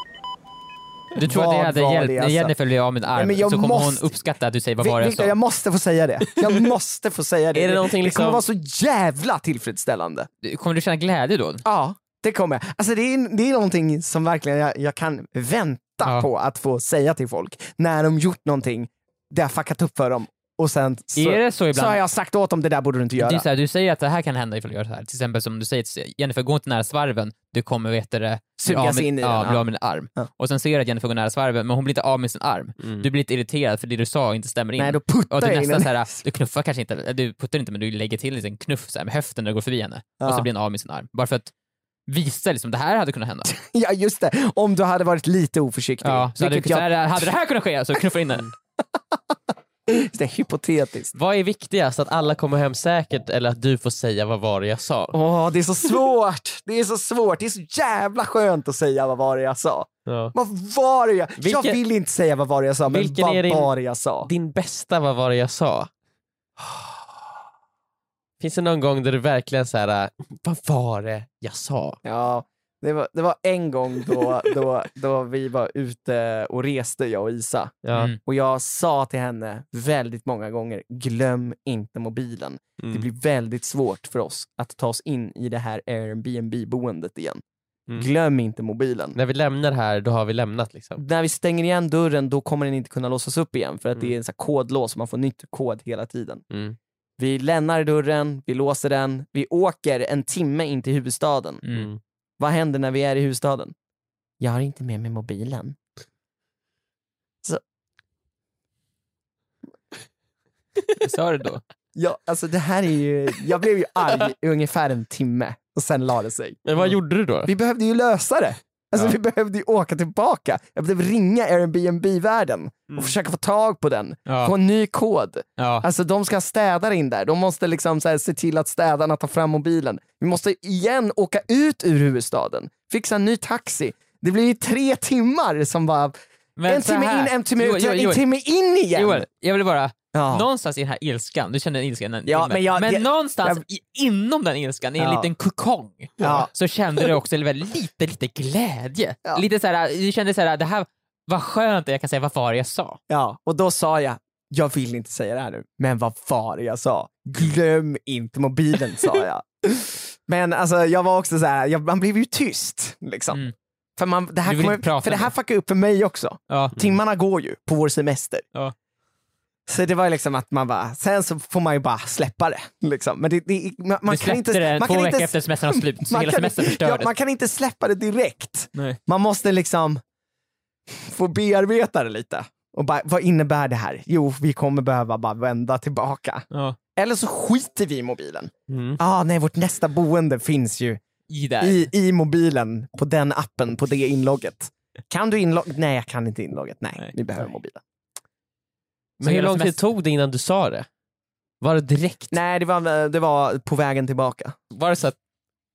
Speaker 4: Du tror
Speaker 3: Vad
Speaker 4: att det
Speaker 3: var
Speaker 4: hade hjälpt
Speaker 3: det jag
Speaker 4: när
Speaker 3: sa?
Speaker 4: Jennifer blir av med en
Speaker 3: Nej,
Speaker 4: arm
Speaker 3: men jag
Speaker 4: så kommer
Speaker 3: måste-
Speaker 4: hon uppskatta att du säger vad
Speaker 3: Vi-
Speaker 4: var det jag
Speaker 3: Victor,
Speaker 4: sa.
Speaker 3: jag måste få säga det.
Speaker 4: (laughs)
Speaker 3: Jag måste få säga det.
Speaker 2: Är det någonting
Speaker 3: det kommer
Speaker 2: liksom-
Speaker 3: vara så jävla tillfredsställande.
Speaker 4: Kommer du känna glädje då?
Speaker 3: Ja, det kommer jag. Alltså det är, det är någonting som verkligen jag, jag kan vänta
Speaker 4: Ja.
Speaker 3: på att få säga till folk när de gjort någonting där jag fuckat upp för dem och sen så,
Speaker 4: är det så
Speaker 3: så har
Speaker 4: ibland?
Speaker 3: jag sagt åt dem det där borde du inte
Speaker 4: det är
Speaker 3: göra.
Speaker 4: så här, du säger att det här kan hända ifall du gör så här. Till exempel som du säger till Jennifer, gå inte nära svarven, du kommer vet du, det, bli av
Speaker 3: Sugas
Speaker 4: med-
Speaker 3: in i
Speaker 4: ja,
Speaker 3: den,
Speaker 4: bli
Speaker 3: ja.
Speaker 4: av med en arm.
Speaker 3: Ja.
Speaker 4: Och sen ser du att Jennifer går nära svarven, men hon blir inte av med sin arm.
Speaker 2: Mm.
Speaker 4: Du blir lite irriterad för det du sa inte stämmer in.
Speaker 3: Nej, då
Speaker 4: och
Speaker 3: puttar
Speaker 4: du
Speaker 3: jag in
Speaker 4: nästan
Speaker 3: den.
Speaker 4: så här, du knuffar kanske inte, eller du puttar inte men du lägger till en liten knuff så här, med höften när du går förbi henne. Och
Speaker 3: Ja.
Speaker 4: så blir hon av med sin arm. Bara för att visa liksom, det här hade kunnat hända.
Speaker 3: (laughs) Ja just det, om du hade varit lite oförsiktig.
Speaker 4: Ja, så hade, du,
Speaker 3: vilket
Speaker 4: så
Speaker 3: jag,
Speaker 4: här, hade det här kunnat ske så knuffar in den.
Speaker 3: (laughs) det är hypotetiskt.
Speaker 2: Vad är viktigast? Att alla kommer hem säkert eller att du får säga vad var det jag sa?
Speaker 3: Åh, det är så svårt! Det är så svårt, det är så jävla skönt att säga vad var det jag sa.
Speaker 2: Ja.
Speaker 3: Vad var det jag... jag
Speaker 2: Vilken-
Speaker 3: vill inte säga vad var det jag sa, men
Speaker 2: Vilken
Speaker 3: vad
Speaker 2: är din-
Speaker 3: var det jag sa?
Speaker 2: Din bästa vad var det jag sa? äh, Finns det någon gång där du verkligen så här, vad var det jag sa?
Speaker 3: Ja, Det var, det var en gång då, då, då vi var ute och reste, jag och Isa.
Speaker 2: Ja.
Speaker 4: Mm.
Speaker 3: Och jag sa till henne väldigt många gånger, glöm inte mobilen. Det
Speaker 2: Mm.
Speaker 3: blir väldigt svårt för oss att ta oss in i det här Airbnb-boendet igen.
Speaker 2: Mm.
Speaker 3: Glöm inte mobilen.
Speaker 2: När vi lämnar här, då har vi lämnat liksom.
Speaker 3: När vi stänger igen dörren då kommer den inte kunna låsas upp igen för att det
Speaker 2: Mm.
Speaker 3: är en sån här kodlås och man får nytt kod hela tiden.
Speaker 2: Mm.
Speaker 3: Vi lämnar dörren, vi låser den, vi åker en timme in till huvudstaden.
Speaker 4: Mm.
Speaker 3: Vad händer när vi är i huvudstaden? Jag har inte med mig mobilen. Så...
Speaker 4: Jag sa det då.
Speaker 3: (laughs) Ja, alltså det här är ju... Jag blev ju arg i ungefär en timme och sen la det sig.
Speaker 2: Men
Speaker 4: Mm.
Speaker 2: vad gjorde du då?
Speaker 3: Vi behövde ju lösa det. Alltså
Speaker 4: Ja.
Speaker 3: vi behövde ju åka tillbaka. Jag behövde ringa Airbnb-världen och försöka få tag på den. Få
Speaker 4: Mm. Ja.
Speaker 3: en ny kod.
Speaker 4: Ja.
Speaker 3: Alltså de ska ha städare in där. De måste liksom så här, se till att städarna tar fram mobilen. Vi måste igen åka ut ur huvudstaden. Fixa en ny taxi. Det blir ju tre timmar som bara...
Speaker 4: Men
Speaker 3: en
Speaker 4: så
Speaker 3: timme
Speaker 4: här-
Speaker 3: in, en timme
Speaker 4: Joel,
Speaker 3: ut,
Speaker 4: Joel,
Speaker 3: en
Speaker 4: Joel,
Speaker 3: timme in igen!
Speaker 4: Joel, jag vill bara,
Speaker 3: Ja.
Speaker 4: någonstans i den här ilskan, du känner den ilskan, den
Speaker 3: Ja,
Speaker 4: filmen.
Speaker 3: men jag- jag-
Speaker 4: någonstans i, inom den ilskan, i en
Speaker 3: Ja.
Speaker 4: liten kokong,
Speaker 3: Ja.
Speaker 4: så kände du också väldigt lite, lite glädje.
Speaker 3: Ja.
Speaker 4: Lite så här, du kände så här, det här, vad skönt att jag kan säga vad var det jag sa.
Speaker 3: Ja, och då sa jag, jag vill inte säga det här nu, men vad var det jag sa? Glöm inte mobilen, sa
Speaker 4: (laughs)
Speaker 3: jag. Men alltså, jag var också så här, jag, man blev ju tyst. Liksom.
Speaker 4: Mm.
Speaker 3: För, man, det här
Speaker 4: Du vill
Speaker 3: kommer,
Speaker 4: inte prata
Speaker 3: för det här
Speaker 4: med.
Speaker 3: fuckar upp för mig också.
Speaker 4: Ja. Mm.
Speaker 3: Timmarna går ju på vår semester.
Speaker 4: Ja.
Speaker 3: Så det var ju liksom att man bara, sen så får man ju bara släppa det. Liksom. Men det, det, man, man
Speaker 4: du
Speaker 3: kan
Speaker 4: släppte
Speaker 3: inte,
Speaker 4: det
Speaker 3: man
Speaker 4: två
Speaker 3: kan
Speaker 4: veckor
Speaker 3: inte,
Speaker 4: efter semestern var slut, så
Speaker 3: man
Speaker 4: hela
Speaker 3: kan-
Speaker 4: semestern
Speaker 3: ja,
Speaker 4: förstördes.
Speaker 3: man kan inte släppa det direkt.
Speaker 4: Nej.
Speaker 3: Man måste liksom få bearbeta det lite. Och bara, vad innebär det här? Jo, vi kommer behöva bara vända tillbaka.
Speaker 4: Ja.
Speaker 3: Eller så skiter vi i mobilen.
Speaker 2: Mm.
Speaker 3: Ah, nej, vårt nästa boende finns ju
Speaker 4: I där.
Speaker 3: i, i mobilen, på den appen, på det inlogget. Kan du inlogget? Nej, jag kan inte inlogget. Nej,
Speaker 4: Nej.
Speaker 3: vi behöver mobilen.
Speaker 4: Så
Speaker 2: Men hur
Speaker 4: hela
Speaker 2: lång tid
Speaker 4: semestern-
Speaker 2: tog det innan du sa det? Var det direkt?
Speaker 3: Nej, det var, det var på vägen tillbaka.
Speaker 2: Var det så att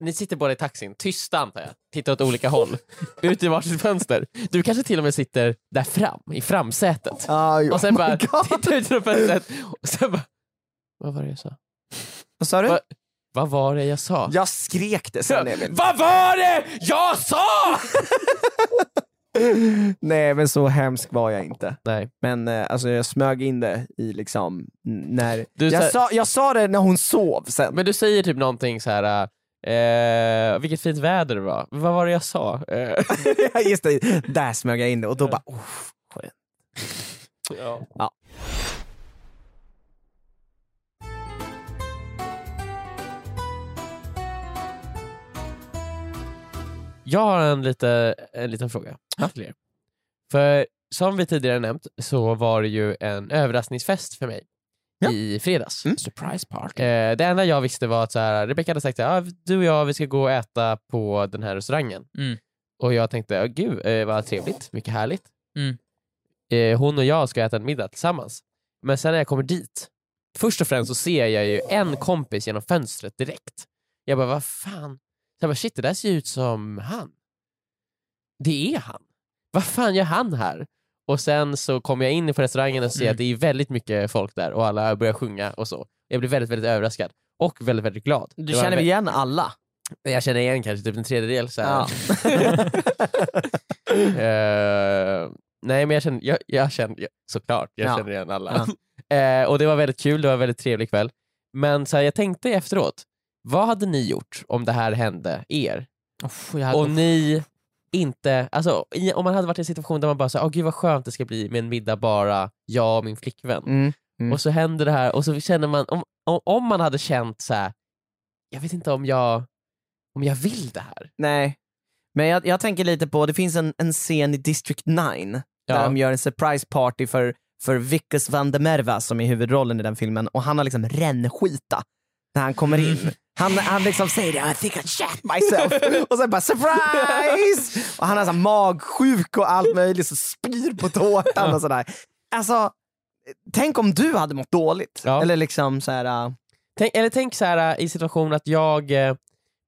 Speaker 2: ni sitter båda i taxin, tysta antar jag, tittar åt olika
Speaker 4: (laughs)
Speaker 2: håll, ut i varsitt fönster. Du kanske till och med sitter där fram, i framsätet.
Speaker 3: Ah,
Speaker 2: Och sen
Speaker 3: oh my
Speaker 2: bara
Speaker 3: God.
Speaker 2: tittar ut genom fönstret och sen bara, vad var det jag sa?
Speaker 3: Vad sa du?
Speaker 2: Va- Vad var det jag sa?
Speaker 3: Jag skrek det sen, Emil.
Speaker 2: Vad var det jag sa?
Speaker 3: Nej, men så hemsk var jag inte.
Speaker 2: Nej.
Speaker 3: Men eh, alltså, jag smög in det i liksom n- när...
Speaker 2: Du
Speaker 3: jag,
Speaker 2: sa-
Speaker 3: sa, jag sa det när hon sov sen.
Speaker 2: Men du säger typ någonting så här. Eh, vilket fint väder det var. Vad var det jag sa? Eh,
Speaker 3: (laughs) Just det, där smög jag in det och då bara... Oh, skönt.
Speaker 2: ja. Jag har en, lite, en liten fråga till er. För som vi tidigare nämnt så var det ju en överraskningsfest för mig
Speaker 3: Ja.
Speaker 2: i fredags.
Speaker 4: Surprise party.
Speaker 2: Eh, det enda jag visste var att så här, Rebecca hade sagt att ah, du och jag vi ska gå och äta på den här restaurangen.
Speaker 4: Mm.
Speaker 2: Och jag tänkte, oh, gud eh, vad trevligt, mycket härligt.
Speaker 4: Mm.
Speaker 2: Eh, hon och jag ska äta en middag tillsammans. Men sen när jag kommer dit, först och främst så ser jag ju en kompis genom fönstret direkt. Jag bara, vad fan? Så jag bara, shit det där ser ju ut som han. Det är han. Vad fan gör han här? Och sen så kommer jag in på restaurangen och ser
Speaker 4: Mm.
Speaker 2: att det är väldigt mycket folk där och alla börjar sjunga och så. Jag blev väldigt, väldigt överraskad och väldigt, väldigt glad. Det
Speaker 3: Du
Speaker 2: var en
Speaker 3: känner
Speaker 2: vä-
Speaker 3: igen alla?
Speaker 2: Jag känner igen kanske typ en tredjedel. Så här.
Speaker 3: Ja.
Speaker 2: Eh, nej men jag känner, jag, jag känner jag, såklart, jag
Speaker 3: Ja.
Speaker 2: känner igen alla. (laughs) Eh, och det var väldigt kul, det var en väldigt trevlig kväll. Men så här, jag tänkte efteråt, vad hade ni gjort om det här hände er?
Speaker 4: jag hade,
Speaker 2: Och ni inte, alltså i, om man hade varit i en situation där man bara sa, åh gud vad skönt det ska bli med en middag bara jag och min flickvän.
Speaker 3: Mm. Mm.
Speaker 2: Och så händer det här och så känner man, om, om, om man hade känt så här, jag vet inte om jag, om jag vill det här.
Speaker 3: Nej. Men jag, jag tänker lite på, det finns en, en scen i District 9 där
Speaker 2: Ja.
Speaker 3: de gör en surprise party för, för Vickers van de Merva som är huvudrollen i den filmen och han har liksom rännskita när han kommer
Speaker 2: Mm.
Speaker 3: in. Han, han liksom säger det, I think I shat
Speaker 2: (laughs)
Speaker 3: myself. Och sen bara surprise! Och han är så här magsjuk och allt möjligt och spyr på tårtan och sådär. Alltså, tänk om du hade mått dåligt.
Speaker 2: Ja.
Speaker 3: Eller liksom så här, äh,
Speaker 2: Tänk, eller tänk så här äh, i situationen att jag eh,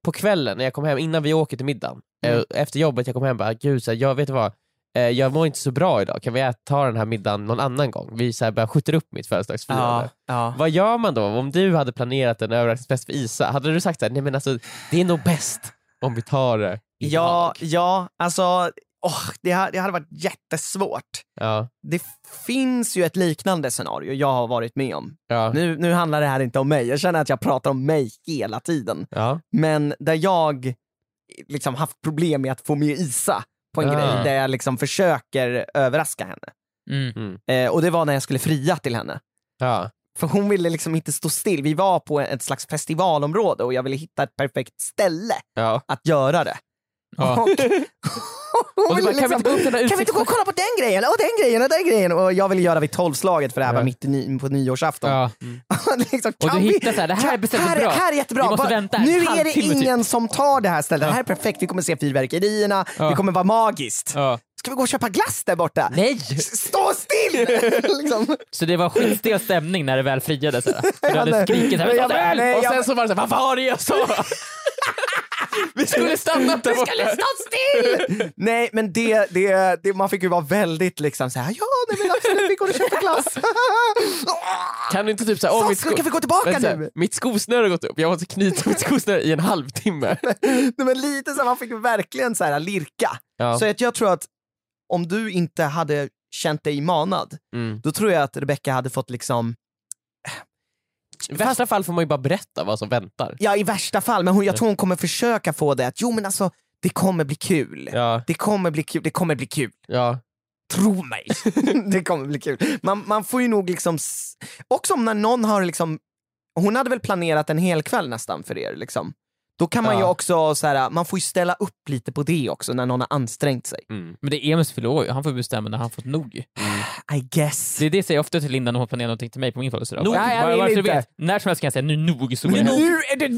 Speaker 2: på kvällen när jag kom hem, innan vi åker till middagen, eh,
Speaker 3: Mm.
Speaker 2: efter jobbet jag kom hem bara, gud så här, jag vet du vad, eh, jag mår inte så bra idag, kan vi ä- ta den här middagen någon annan gång? Vi så här bara skjuter upp mitt födelsedagsfirande.
Speaker 3: ja.
Speaker 2: Vad gör man då om du hade planerat en överraskningsfest för Isa? Hade du sagt så här, nej men alltså det är nog bäst om vi tar det
Speaker 3: Ja, ja alltså åh, det, ha- det hade varit jättesvårt.
Speaker 2: Ja,
Speaker 3: Det finns ju ett liknande scenario jag har varit med om.
Speaker 2: ja,
Speaker 3: Nu, nu handlar det här inte om mig, jag känner att jag pratar om mig hela tiden.
Speaker 2: ja.
Speaker 3: Men där jag liksom haft problem med att få med Isa på en
Speaker 2: Ah.
Speaker 3: grej där jag liksom försöker överraska henne.
Speaker 4: Mm.
Speaker 3: Eh, och det var när jag skulle fria till henne.
Speaker 2: ja.
Speaker 3: För hon ville liksom inte stå still. Vi var på ett slags festivalområde och jag ville hitta ett perfekt ställe
Speaker 2: ja.
Speaker 3: att göra det.
Speaker 2: (laughs)
Speaker 4: Ja.
Speaker 3: Och, hon
Speaker 2: Och du
Speaker 3: ville
Speaker 2: bara, kan vi inte
Speaker 3: liksom,
Speaker 2: gå upp den där
Speaker 3: kan vi inte gå och kolla på den grejen och den grejen och den grejen? Och jag ville göra vid tolvslaget för det här var
Speaker 2: Ja.
Speaker 3: mitt i ny, på nyårsafton.
Speaker 4: Ja.
Speaker 3: (laughs) liksom,
Speaker 4: Och du
Speaker 3: kan vi-
Speaker 4: hittar så här, det här är bestämt
Speaker 3: här, är-
Speaker 4: bra.
Speaker 3: här är jättebra.
Speaker 4: Vi måste
Speaker 3: Bara-
Speaker 4: vänta en
Speaker 3: nu är det
Speaker 4: halvtimme typ.
Speaker 3: ingen som tar det här stället. Det här är perfekt. Vi kommer se fyrverkerierna.
Speaker 4: Ja.
Speaker 3: Det kommer vara magiskt.
Speaker 4: Ja.
Speaker 3: Ska vi gå och köpa glass där borta?
Speaker 4: Nej!
Speaker 3: Stå still! (laughs) liksom.
Speaker 4: Så det var skitstel stämning när det väl
Speaker 3: (laughs)
Speaker 4: friades. så här. För Du hade
Speaker 3: nej.
Speaker 4: skrikit här.
Speaker 3: Nej, jag
Speaker 4: "Ta
Speaker 3: bara,
Speaker 4: öl!"
Speaker 3: nej,
Speaker 2: Och
Speaker 3: jag-
Speaker 2: sen så var det såhär, vad var det jag sa?
Speaker 3: (laughs)
Speaker 2: Vi skulle stannat där borta.
Speaker 3: Nej, men det, det, det, man fick ju vara väldigt liksom så här, ja, nej, men absolut, vi går och köper
Speaker 4: (laughs)
Speaker 3: glass.
Speaker 2: Kan du inte typ såhär, åh mitt,
Speaker 3: Saskia,
Speaker 2: sko-
Speaker 3: kan vi gå tillbaka
Speaker 2: Vänta, så här,
Speaker 3: nu?
Speaker 2: mitt skosnöre har gått upp, jag måste knyta mitt skosnöre i en (laughs) halvtimme.
Speaker 3: Nej, men lite så här, man fick verkligen så här lirka.
Speaker 2: Ja.
Speaker 3: Så att jag tror att om du inte hade känt dig manad,
Speaker 2: Mm.
Speaker 3: då tror jag att Rebecca hade fått liksom
Speaker 2: I värsta fall får man ju bara berätta vad som väntar.
Speaker 3: Ja i värsta fall, men hon, jag tror hon kommer försöka få det att jo men alltså det kommer bli kul.
Speaker 2: Ja,
Speaker 3: Det kommer bli kul, det kommer bli kul.
Speaker 2: ja,
Speaker 3: Tro mig! (laughs) det kommer bli kul. Man, man får ju nog liksom, s- också om när någon har liksom, hon hade väl planerat en hel kväll nästan för er liksom. Då kan man ju
Speaker 2: Ja.
Speaker 3: också, så här, man får ju ställa upp lite på det också när någon har ansträngt sig.
Speaker 2: mm.
Speaker 4: Men det är Emils fyller år ju. han får bestämma när han fått nog. ju.
Speaker 3: I guess.
Speaker 4: Det är det jag säger ofta till Linda när hon planerar någonting till mig på min födelsedag.
Speaker 3: Nog,
Speaker 4: Bara-
Speaker 3: jag
Speaker 4: bara-
Speaker 3: vill
Speaker 4: bara så du
Speaker 3: inte.
Speaker 4: vet, När som helst kan jag säga nu nog så går det hem.
Speaker 3: Nu är det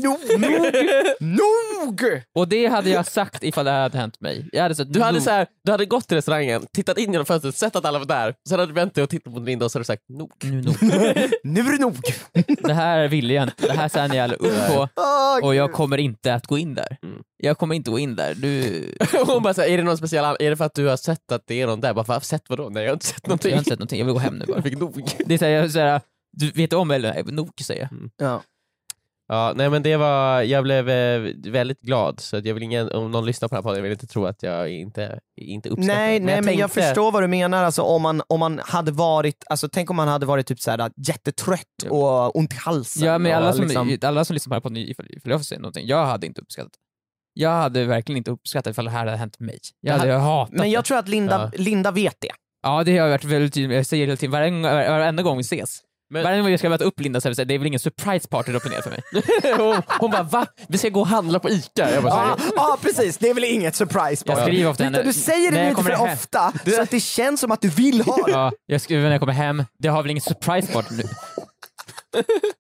Speaker 3: nog! nog!
Speaker 4: Och det hade jag sagt ifall det hade hänt mig. Jag hade sagt,
Speaker 2: Du hade,
Speaker 4: nog.
Speaker 2: så här, du hade gått till restaurangen, tittat in genom fönstret, sett att alla var där, sen hade du vänt dig och tittat på Linda och så hade du sagt nog.
Speaker 4: nu nog.
Speaker 3: Nu är det nog!
Speaker 4: Det här ville jag inte. Det här sen jag upp på
Speaker 3: Åh,
Speaker 4: och jag kommer inte att gå in där.
Speaker 2: Mm.
Speaker 4: Jag kommer inte gå in där. Du,
Speaker 2: (laughs) Och Hon bara, så här, är det någon speciell an- är det för att du har sett att det är någon där? Jag Bara, "Va, sett vadå? Nej jag har inte sett
Speaker 4: jag
Speaker 2: någonting.
Speaker 4: har inte sett någonting. Jag vill gå hem nu bara.
Speaker 2: (laughs) Jag fick nog.
Speaker 4: Det är så här, jag, så här, du vet om eller? Nej, nog säger jag.
Speaker 3: Ja.
Speaker 2: Ja, nej men det var, jag blev eh, väldigt glad, så att jag vill ingen, om någon lyssnar på den här podden, jag vill inte tro att jag inte, inte uppskattar
Speaker 3: Nej,
Speaker 2: det.
Speaker 3: nej men jag
Speaker 2: tänkte-
Speaker 3: förstår vad du menar. Alltså, om, man, om man hade varit, alltså, tänk om man hade varit typ så här, jättetrött och ont i halsen.
Speaker 4: Ja, men
Speaker 3: och
Speaker 4: alla som,
Speaker 3: liksom,
Speaker 4: alla som lyssnar på det här ifall, ifall jag får säga någonting, jag hade inte uppskattat det. Jag hade verkligen inte uppskattat ifall det här hade hänt mig. Jag hade hatat
Speaker 3: men jag
Speaker 4: det.
Speaker 3: tror att Linda, Linda vet det.
Speaker 4: Ja, det har jag varit väldigt tydlig med. Jag säger hela tiden, varenda, gång- varenda gång vi ses,
Speaker 2: Men-
Speaker 4: varenda gång jag ska möta upp Linda så här, det är väl ingen surprise party du har planerat för mig?
Speaker 2: (laughs) hon, hon bara va? Vi ska gå och handla på ICA. Jag bara, så
Speaker 3: Ja,
Speaker 2: här,
Speaker 3: ah, ah, precis, det är väl inget surprise
Speaker 4: Jag
Speaker 3: bara.
Speaker 4: skriver ofta
Speaker 3: Victor,
Speaker 4: henne-
Speaker 3: Du säger
Speaker 4: när
Speaker 3: det
Speaker 4: jag
Speaker 3: lite
Speaker 4: kommer
Speaker 3: för
Speaker 4: hem.
Speaker 3: ofta, så att det känns som att du vill ha det.
Speaker 4: Ja, jag skriver när jag kommer hem, det har väl ingen surprise party nu?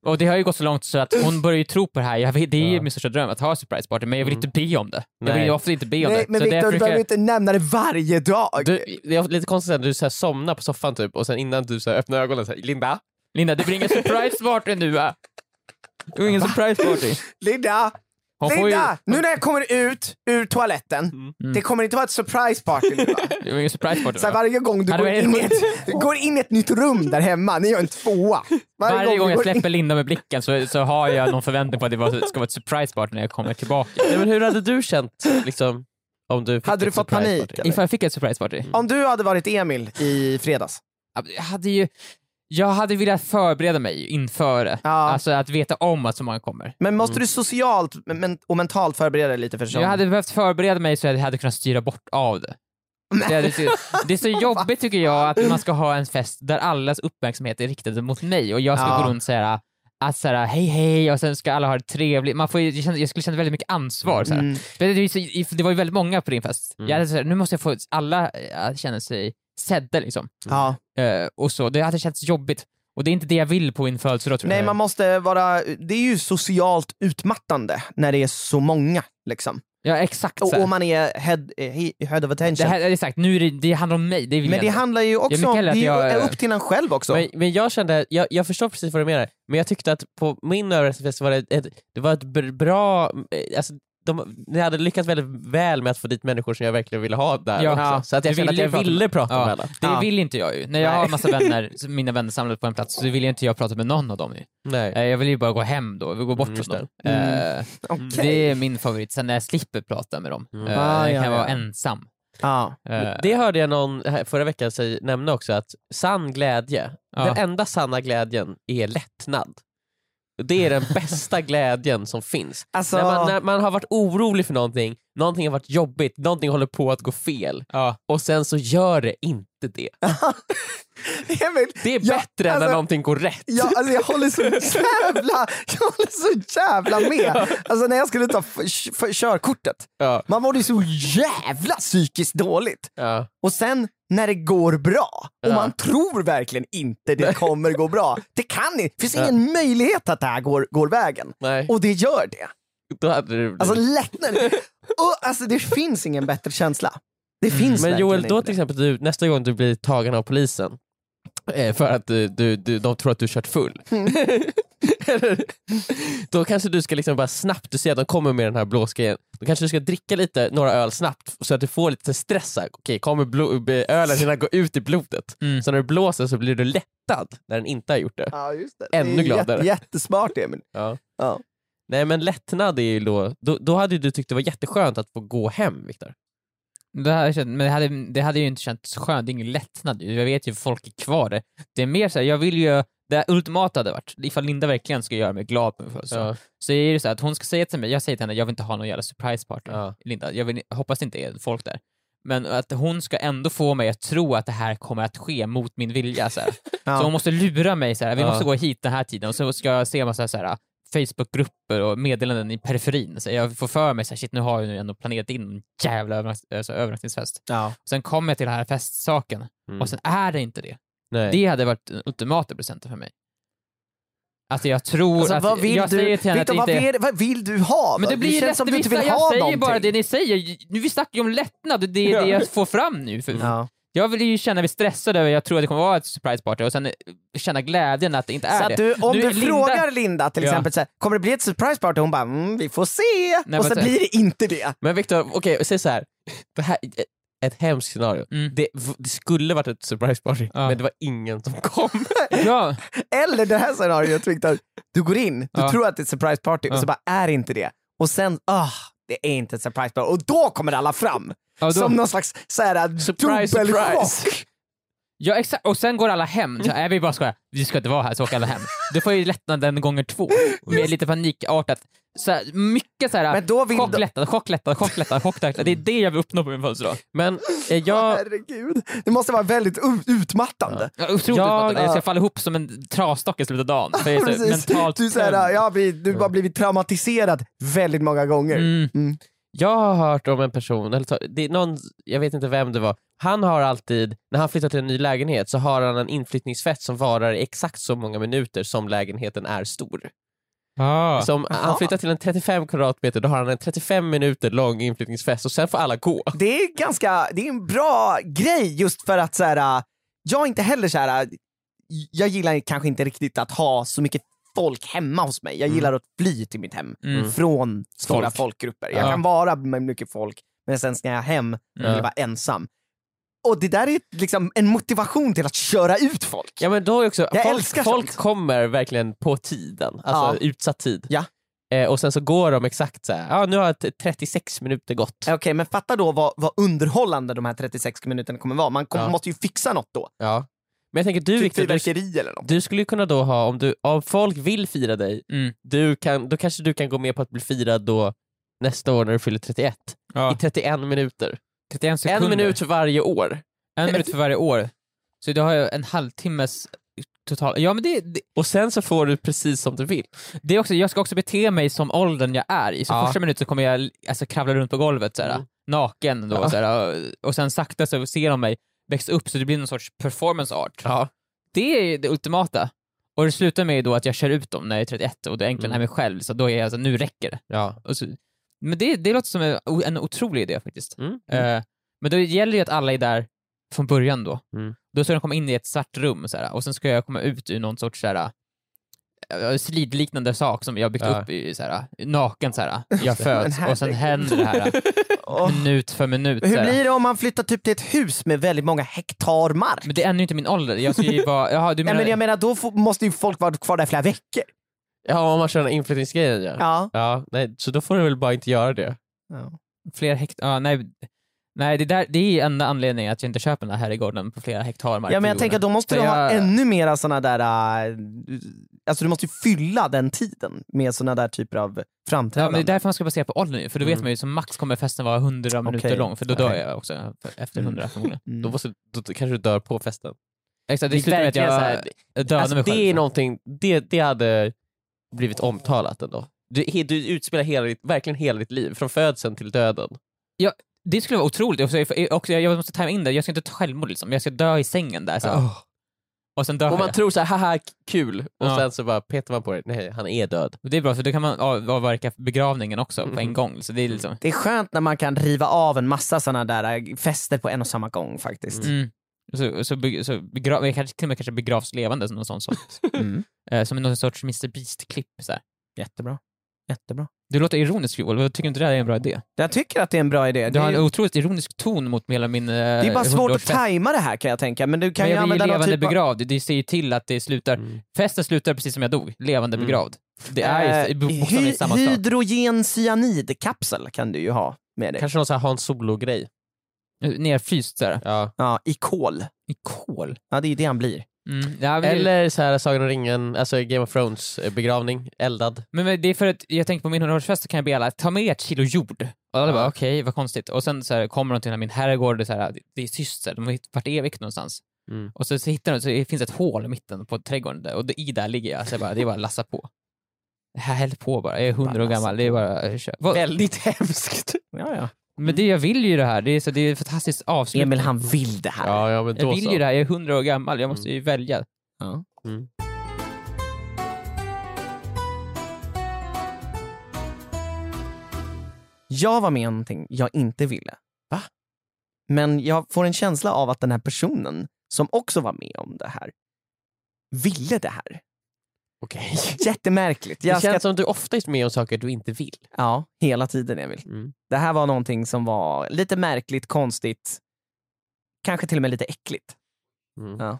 Speaker 4: Och det har ju gått så långt så att hon börjar ju tro på det här. Jag vet, det är ju min största dröm att ha surprise party, men jag vill inte be om det. Jag vill
Speaker 2: Nej.
Speaker 4: ju ofta inte be om
Speaker 3: Mm. Nej,
Speaker 4: det.
Speaker 3: men
Speaker 4: så därför
Speaker 3: Victor, du
Speaker 4: brukar
Speaker 3: behöver
Speaker 4: jag-
Speaker 3: inte nämna det varje dag.
Speaker 2: du, det är lite konstigt att du så här somnar på soffan typ och sen innan du så här öppnar ögonen så här, Linda?
Speaker 4: Linda, det blir ingen surprise party nu va? Det blir ingen surprise party.
Speaker 3: Linda,
Speaker 4: Hon får ju, Mm.
Speaker 3: Linda! Nu när jag kommer ut ur toaletten, det kommer inte vara ett surprise party nu va?
Speaker 4: det blir ingen surprise party.
Speaker 3: Så här,
Speaker 4: va?
Speaker 3: varje gång du
Speaker 4: Hade
Speaker 3: går
Speaker 4: varit-
Speaker 3: in, i ett, du går in i ett nytt rum där hemma, ni gör en tvåa.
Speaker 4: Varje gång
Speaker 3: du
Speaker 4: jag
Speaker 3: går in-
Speaker 4: släpper Linda med blicken så, så har jag någon förväntning på att det var- ska vara ett surprise party när jag kommer tillbaka.
Speaker 2: (laughs) Nej, men hur hade du känt liksom, om du fick liksom
Speaker 3: Hade
Speaker 2: ett
Speaker 3: du fått
Speaker 2: surprise
Speaker 3: panik,
Speaker 2: party?
Speaker 3: eller?
Speaker 4: Ifall jag fick ett surprise party?
Speaker 3: Om du hade varit Emil i fredags,
Speaker 4: Jag hade ju... Jag hade velat förbereda mig inför det.
Speaker 3: Ja.
Speaker 4: Alltså att veta om att så många kommer.
Speaker 3: men måste du socialt men, och mentalt förbereda dig lite för sånt?
Speaker 4: Mm. Jag hade behövt förbereda mig så jag hade kunnat styra bort av det. Det, hade, det
Speaker 3: (laughs)
Speaker 4: är så jobbigt tycker jag att man ska ha en fest där allas uppmärksamhet är riktad mot mig och jag ska
Speaker 3: Ja.
Speaker 4: gå runt och säga att så här, hej hej och sen ska alla ha det trevligt. Man får, ju- jag, känner, jag skulle känna väldigt mycket ansvar. Så här.
Speaker 3: Mm.
Speaker 4: För Det, det, är ju så- det var ju väldigt många på din fest. Jag hade, så här, nu måste jag få alla eh, att känna sig sedda liksom.
Speaker 3: Ja.
Speaker 4: Eh, och så. Det hade känts jobbigt. Och det är inte det jag vill på min födelsedag tror
Speaker 3: Nej
Speaker 4: jag.
Speaker 3: man måste vara, det är ju socialt utmattande när det är så många liksom.
Speaker 4: Ja exakt. Så
Speaker 3: Och,
Speaker 4: här.
Speaker 3: och man är head, eh, he- head of
Speaker 4: det
Speaker 3: attention.
Speaker 4: här, exakt, nu är det, det handlar om mig. Det vill
Speaker 3: men
Speaker 4: jag
Speaker 3: det
Speaker 4: inte.
Speaker 3: handlar ju också
Speaker 4: mycket
Speaker 3: om, det
Speaker 4: hellre
Speaker 3: är
Speaker 4: att
Speaker 3: ju
Speaker 4: jag-
Speaker 3: är upp till en själv också.
Speaker 2: Men, men jag kände, jag, jag förstår precis vad du menar, men jag tyckte att på min överraskningsfest var det ett, det var ett br- bra, eh, alltså, de, ni hade lyckats väldigt väl med att få dit människor som jag verkligen ville ha där
Speaker 4: Ja.
Speaker 2: också. Så att jag
Speaker 4: Du
Speaker 2: kände att
Speaker 4: ville
Speaker 2: jag
Speaker 4: ju prata-
Speaker 2: ville prata
Speaker 4: Ja.
Speaker 2: med alla.
Speaker 4: Det
Speaker 3: Ja.
Speaker 4: vill inte jag ju. När jag har massa
Speaker 3: (laughs)
Speaker 4: vänner, så mina vänner samlade på en plats, så vill inte jag prata med någon av dem ju.
Speaker 2: Nej.
Speaker 4: Eh, Jag vill ju bara gå hem då, vi går bort
Speaker 2: Mm,
Speaker 4: från
Speaker 2: just
Speaker 4: dem.
Speaker 3: det. Mm.
Speaker 4: Eh,
Speaker 3: Okej.
Speaker 4: Det är min favorit, sen när jag slipper prata med dem.
Speaker 2: Mm.
Speaker 4: Eh,
Speaker 3: Ah,
Speaker 4: jag
Speaker 3: ja,
Speaker 4: kan
Speaker 3: ja.
Speaker 4: vara ensam.
Speaker 3: Ja.
Speaker 4: Eh,
Speaker 2: Det hörde jag någon här förra veckan säg, nämna också, att sann glädje,
Speaker 4: Ja.
Speaker 2: den enda sanna glädjen är lättnad. Det är
Speaker 3: (laughs)
Speaker 2: den bästa glädjen som finns.
Speaker 3: Alltså,
Speaker 2: När,
Speaker 3: (laughs)
Speaker 2: man, när man har varit orolig för någonting, någonting har varit jobbigt, någonting håller på att gå fel
Speaker 4: Ja.
Speaker 2: och sen så gör det inte det.
Speaker 3: Emil,
Speaker 2: Det är
Speaker 3: (laughs) Ja,
Speaker 2: bättre än när
Speaker 3: alltså-
Speaker 2: någonting går rätt.
Speaker 3: jag, alltså, jag håller så jävla, jag håller så jävla med. Alltså när jag skulle ta f- f- körkortet,
Speaker 2: Ja.
Speaker 3: man mådde ju så jävla psykiskt dåligt.
Speaker 2: Ja.
Speaker 3: Och sen när det går bra, och
Speaker 2: Ja.
Speaker 3: man tror verkligen inte det kommer gå bra. Det kan inte, det finns ingen möjlighet att det här går, går vägen.
Speaker 2: Nej,
Speaker 3: Och det gör det.
Speaker 2: då hade det blivit-
Speaker 3: Alltså lättnad. Och, alltså det finns ingen bättre känsla. Det finns
Speaker 2: Mm. Men
Speaker 3: verkligen
Speaker 2: Joel,
Speaker 3: inte
Speaker 2: då
Speaker 3: det.
Speaker 2: till exempel du, nästa gång du blir tagen av polisen eh, för att du, du, du, de tror att du kört full. (laughs) Eller- då kanske du ska liksom bara snabbt, du ser att de kommer med den här blåsgrejen, då kanske du ska dricka lite, några öl snabbt så att du får lite stress. här. Okej, kommer blo- be- ölen hinna gå ut i blodet?
Speaker 4: Mm.
Speaker 2: Så när du blåser så blir du lättad när den inte har gjort det.
Speaker 3: Ja, just det.
Speaker 2: Ännu
Speaker 3: det är jätte-
Speaker 2: gladare.
Speaker 3: Jättesmart Emil.
Speaker 2: Ja.
Speaker 3: Ja.
Speaker 2: Nej men lättnad är ju då, då, då hade ju du tyckt det var jätteskönt att få gå hem Viktor.
Speaker 4: Det hade, känt- men det hade, det hade ju inte känts skönt, det är ingen lättnad ju. Jag vet ju folk är kvar där. Det är mer såhär, jag vill ju, det ultimata hade varit, ifall Linda verkligen ska göra mig glad på min födelsedag,
Speaker 2: Ja.
Speaker 4: så är det så här att hon ska säga till mig, jag säger till henne, jag vill inte ha någon jävla surprise party.
Speaker 2: Ja.
Speaker 4: Linda, jag, vill, jag hoppas det inte är folk där. Men att hon ska ändå få mig att tro att det här kommer att ske mot min
Speaker 2: (laughs)
Speaker 4: vilja. Så, här.
Speaker 3: Ja.
Speaker 4: så hon måste lura mig, så här, vi
Speaker 2: Ja.
Speaker 4: måste gå hit den här tiden, och så ska jag se massa så här, Facebookgrupper och meddelanden i periferin. Så jag får för mig så här, shit nu har jag ju ändå planerat in en jävla övernatt- alltså, övernattningsfest.
Speaker 3: Ja.
Speaker 4: Sen kommer jag till den här festsaken,
Speaker 2: Mm.
Speaker 4: och sen är det inte det.
Speaker 2: Nej.
Speaker 4: Det hade varit den ultimata presenten för mig. Alltså jag tror
Speaker 3: Alltså,
Speaker 4: att...
Speaker 3: vad vill
Speaker 4: jag
Speaker 3: du,
Speaker 4: säger till henne att
Speaker 3: Victor,
Speaker 4: det
Speaker 3: vad,
Speaker 4: inte är-
Speaker 3: vill, vad vill du ha?
Speaker 4: men
Speaker 3: då?
Speaker 4: det blir ju
Speaker 3: känns som du inte
Speaker 4: lättvista,
Speaker 3: vill
Speaker 4: jag
Speaker 3: ha
Speaker 4: säger
Speaker 3: någonting.
Speaker 4: bara det ni säger. Nu, vi snackar ju om lättnad, det är det jag får fram nu. För
Speaker 3: Ja.
Speaker 4: Jag vill ju känna mig stressad över, jag tror att det kommer vara ett surprise party, och sen eh, känna glädjen att det inte
Speaker 3: Så
Speaker 4: är
Speaker 3: att
Speaker 4: det.
Speaker 3: du, om
Speaker 4: Nu,
Speaker 3: du
Speaker 4: Linda-
Speaker 3: frågar Linda till
Speaker 4: Ja.
Speaker 3: exempel, så här, kommer det bli ett surprise party? Hon bara, mm, vi får se.
Speaker 4: men
Speaker 3: och sen
Speaker 4: så-
Speaker 3: blir det inte det.
Speaker 2: Men Viktor, okej, säg så här. Det här är ett hemskt scenario.
Speaker 4: Mm.
Speaker 2: Det, det skulle varit ett surprise party,
Speaker 4: Ja.
Speaker 2: men det var ingen som kom.
Speaker 4: Ja,
Speaker 3: Eller det här scenariot Victor, du går in, du
Speaker 4: Ja.
Speaker 3: tror att det är ett surprise party och
Speaker 4: Ja.
Speaker 3: så bara, är det inte det? Och sen, ah, det är inte ett surprise party. Och då kommer alla fram.
Speaker 4: ja, då,
Speaker 3: Som någon slags så här,
Speaker 2: Surprise,
Speaker 3: dubbelchock.
Speaker 2: surprise.
Speaker 4: ja exakt, och sen går alla hem. Så, nej, vi bara skojar, vi ska inte vara här, så åker alla hem. Du får ju lättnaden gånger två, med lite panikartat. Så, här, mycket såhär,
Speaker 3: Men då vill
Speaker 4: chock,
Speaker 3: de-
Speaker 4: lättnad, chock, lättnad, chock, lättnad, chock, lättnad. Det är det jag vill uppnå på min födelsedag.
Speaker 2: Men eh,
Speaker 3: Åh,
Speaker 2: jag,
Speaker 3: Herregud, det måste vara väldigt u- utmattande.
Speaker 4: Ja, otroligt
Speaker 2: Ja,
Speaker 4: jag, jag
Speaker 3: ja.
Speaker 4: ska falla ihop som en trasdock i slutet av dagen. För jag är så
Speaker 3: Precis.
Speaker 4: Alltså, mentalt
Speaker 3: Du, är så här,
Speaker 4: tömd.
Speaker 3: ja, vi, du har blivit traumatiserad väldigt många gånger.
Speaker 4: Mm.
Speaker 2: jag har hört om en person, eller, ta- det är någon, jag vet inte vem det var, han har alltid, när han flyttar till en ny lägenhet så har han en inflyttningsfest som varar i exakt så många minuter som lägenheten är stor.
Speaker 4: Ah.
Speaker 2: Så om han
Speaker 3: Aha.
Speaker 2: flyttar till en 35 kvadratmeter, då har han en 35 minuter lång inflyttningsfest och sen får alla gå.
Speaker 3: Det är ganska, det är en bra grej just för att så här, jag är inte heller så här, jag gillar kanske inte riktigt att ha så mycket folk hemma hos mig. Jag
Speaker 2: Mm.
Speaker 3: gillar att fly till mitt hem
Speaker 4: Mm.
Speaker 3: från stora
Speaker 2: Folk.
Speaker 3: folkgrupper. Jag
Speaker 4: Ja.
Speaker 3: kan vara med mycket folk, men sen ska jag hem och
Speaker 4: Ja.
Speaker 3: vill vara ensam. Och det där är liksom en motivation till att köra ut folk.
Speaker 2: Ja men då är också,
Speaker 3: Jag
Speaker 2: folk,
Speaker 3: älskar
Speaker 2: folk
Speaker 3: sånt.
Speaker 2: kommer verkligen på tiden, alltså utsatt tid.
Speaker 3: Ja.
Speaker 2: Eh, och sen så går de exakt så här. ja nu har t- 36 minuter gått.
Speaker 3: Okej, men fatta då vad, vad underhållande de här 36 minuterna kommer vara. Man kommer,
Speaker 2: Ja.
Speaker 3: måste ju fixa något då.
Speaker 2: Ja. Men jag tänker du
Speaker 3: Typ
Speaker 2: Viktor, du,
Speaker 3: fyrverkeri eller något.
Speaker 2: du skulle ju kunna då ha, om, du, om folk vill fira dig,
Speaker 4: Mm.
Speaker 2: du kan, då kanske du kan gå med på att bli firad då nästa år när du fyller 31.
Speaker 4: Ja.
Speaker 2: I 31 minuter.
Speaker 4: 31 sekunder.
Speaker 2: En minut för varje år.
Speaker 4: en minut för varje år. Så du har ju en halvtimmes total... Ja, men det, det,
Speaker 2: Och sen så får du precis som du vill.
Speaker 4: det är också, jag ska också bete mig som åldern jag är i. Så
Speaker 2: Ja.
Speaker 4: första minuten kommer jag alltså, kravla runt på golvet såhär,
Speaker 2: Mm.
Speaker 4: naken då,
Speaker 2: Ja.
Speaker 4: såhär, och, och sen sakta så ser de mig växa upp så det blir någon sorts performance art.
Speaker 2: Ja.
Speaker 4: Det är det ultimata. Och det slutar med då att jag kör ut dem när jag är 31 och det är äntligen
Speaker 2: Mm.
Speaker 4: är mig själv, så då är jag så här, nu räcker det.
Speaker 2: Ja.
Speaker 4: Och så, men det, det låter som en, o- en otrolig idé faktiskt.
Speaker 2: Mm.
Speaker 4: Eh, men då gäller ju att alla är där från början då.
Speaker 2: Mm.
Speaker 4: Då ska de komma in i ett svart rum så här, och sen ska jag komma ut ur någon sorts så här, eh, slidliknande sak som jag byggt
Speaker 2: Ja.
Speaker 4: upp i, så här, naken
Speaker 2: (laughs)
Speaker 4: så här. Jag föds och sen händer det här minut för minut. så
Speaker 3: Mm. Hur
Speaker 4: här.
Speaker 3: blir det om man flyttar typ till ett hus med väldigt många hektar mark?
Speaker 4: Men det är ännu inte min ålder. Jag ska ju vara, jaha, du
Speaker 3: Nej,
Speaker 4: menar,
Speaker 3: men jag menar, då får, måste ju folk vara kvar där i flera veckor.
Speaker 2: Ja, om man kör den här inflyttningsgrejen ja.
Speaker 3: Ja.
Speaker 2: Ja, nej, så då får du väl bara inte göra det.
Speaker 4: fler hektar? Ja, nej, nej det, där, det är enda anledningen att jag inte köper den här herrgården på flera hektar mark.
Speaker 3: Ja, men jag
Speaker 4: i
Speaker 3: tänker att då måste
Speaker 4: Så
Speaker 3: du ha
Speaker 4: jag-
Speaker 3: ännu mera såna där... äh, Alltså du måste ju fylla den tiden med såna där typer av
Speaker 4: Ja,
Speaker 3: framträdanden.
Speaker 4: men det är därför man ska basera på åldern ju, för då
Speaker 2: Mm.
Speaker 4: vet man ju som max kommer festen vara 100 minuter
Speaker 3: Okej.
Speaker 4: lång, för då dör
Speaker 3: Okej.
Speaker 4: jag också för- efter 100 förmodligen.
Speaker 3: Mm.
Speaker 2: Då, måste, då kanske du dör på festen.
Speaker 4: Exakt,
Speaker 2: Det
Speaker 4: det
Speaker 2: är
Speaker 4: slutar med att jag
Speaker 2: verkligen så här-
Speaker 4: jag dödar
Speaker 2: Alltså,
Speaker 4: mig själv.
Speaker 2: det är någonting, det, det hade blivit omtalat ändå. Du, he- du utspelar hela ditt, verkligen hela ditt liv, från födseln till döden.
Speaker 4: det skulle vara otroligt, och så- och jag jag måste tajma in det, jag ska inte ta självmord liksom, jag ska dö i sängen där så. här.
Speaker 2: Oh,
Speaker 4: Och sen dör
Speaker 2: Och man
Speaker 4: jag.
Speaker 2: tror så här, haha kul, och
Speaker 4: Ja.
Speaker 2: sen så bara petar man på det, nej han är död.
Speaker 4: Det är bra, för då kan man av- avverka begravningen också på
Speaker 3: Mm.
Speaker 4: en gång. Så det är liksom...
Speaker 3: Det är skönt när man kan riva av en massa såna där äh, fester på en och samma gång faktiskt.
Speaker 4: Mm. Så, så, beg- så begrav, jag kanske, till och med kanske begravs levande, som någon sån sort.
Speaker 3: (laughs) Mm.
Speaker 4: Eh, som någon sorts Mr Beast-klipp. så här.
Speaker 3: Jättebra. Jättebra.
Speaker 4: Du låter ironisk Joel, jag tycker inte det här är en bra idé?
Speaker 3: Jag tycker att det är en bra idé.
Speaker 4: Du
Speaker 3: Det
Speaker 4: har
Speaker 3: är,
Speaker 4: en otroligt ironisk ton mot hela min eh,
Speaker 3: det är bara svårt att
Speaker 4: 100-årsfest.
Speaker 3: tajma det här kan jag tänka. Men du kan
Speaker 4: men
Speaker 3: ju
Speaker 4: jag blir ju
Speaker 3: använda någon
Speaker 4: levande
Speaker 3: typ av...
Speaker 4: begravd, det ser ju till att det slutar.
Speaker 2: Mm.
Speaker 4: Festen slutar precis som jag dog, levande
Speaker 2: Mm.
Speaker 4: begravd. Det är ju
Speaker 3: Eh,
Speaker 4: bo- bokstavligen samma
Speaker 3: hy-
Speaker 4: sak.
Speaker 3: Hydrogencyanidkapsel kan du ju ha med dig.
Speaker 2: Kanske någon sån här Hans Solo-grej.
Speaker 4: Nerfryst såhär,
Speaker 2: Ja.
Speaker 3: Ja, I kol.
Speaker 4: i kol.
Speaker 3: Ja, det är ju det han blir.
Speaker 4: Mm. Ja, men, Eller...
Speaker 2: Eller så här Sagan om ringen, alltså Game of Thrones eh, begravning, eldad.
Speaker 4: men, men det är för att jag tänker på min 100-årsfest så kan jag be alla ta med ett kilo jord. Och alla bara okej, vad konstigt. Och sen så här, kommer de till min herrgård, det är, så här, det är syster, de har hitt- varit evigt någonstans.
Speaker 2: Mm.
Speaker 4: Och så, så hittar de, så det finns ett hål i mitten på trädgården där, och det- i där ligger jag. Så jag bara, det är bara att lassa på. Här, Häll på bara, jag är hundra
Speaker 3: Bara
Speaker 4: år
Speaker 3: lassa
Speaker 4: gammal. Det är bara, eh, kör. Vad-
Speaker 2: Väldigt hemskt.
Speaker 3: Ja, ja.
Speaker 4: Men det, jag vill ju det här, det är, så, det är ett fantastiskt avslut.
Speaker 3: Emil han vill det här.
Speaker 2: Ja, ja men då
Speaker 4: Jag vill
Speaker 2: så.
Speaker 4: ju det här, jag är hundra år gammal, jag måste ju välja.
Speaker 3: Jag var med om någonting jag inte ville. Va? Men jag får en känsla av att den här personen som också var med om det här ville det här.
Speaker 2: (laughs) Okej.
Speaker 3: Jättemärkligt.
Speaker 2: Det
Speaker 3: Jag ska...
Speaker 2: känns som att du ofta är med om saker du inte vill.
Speaker 3: Ja, hela tiden Emil.
Speaker 2: Mm.
Speaker 3: Det här var någonting som var lite märkligt, konstigt, kanske till och med lite äckligt.
Speaker 2: Mm.
Speaker 3: Ja.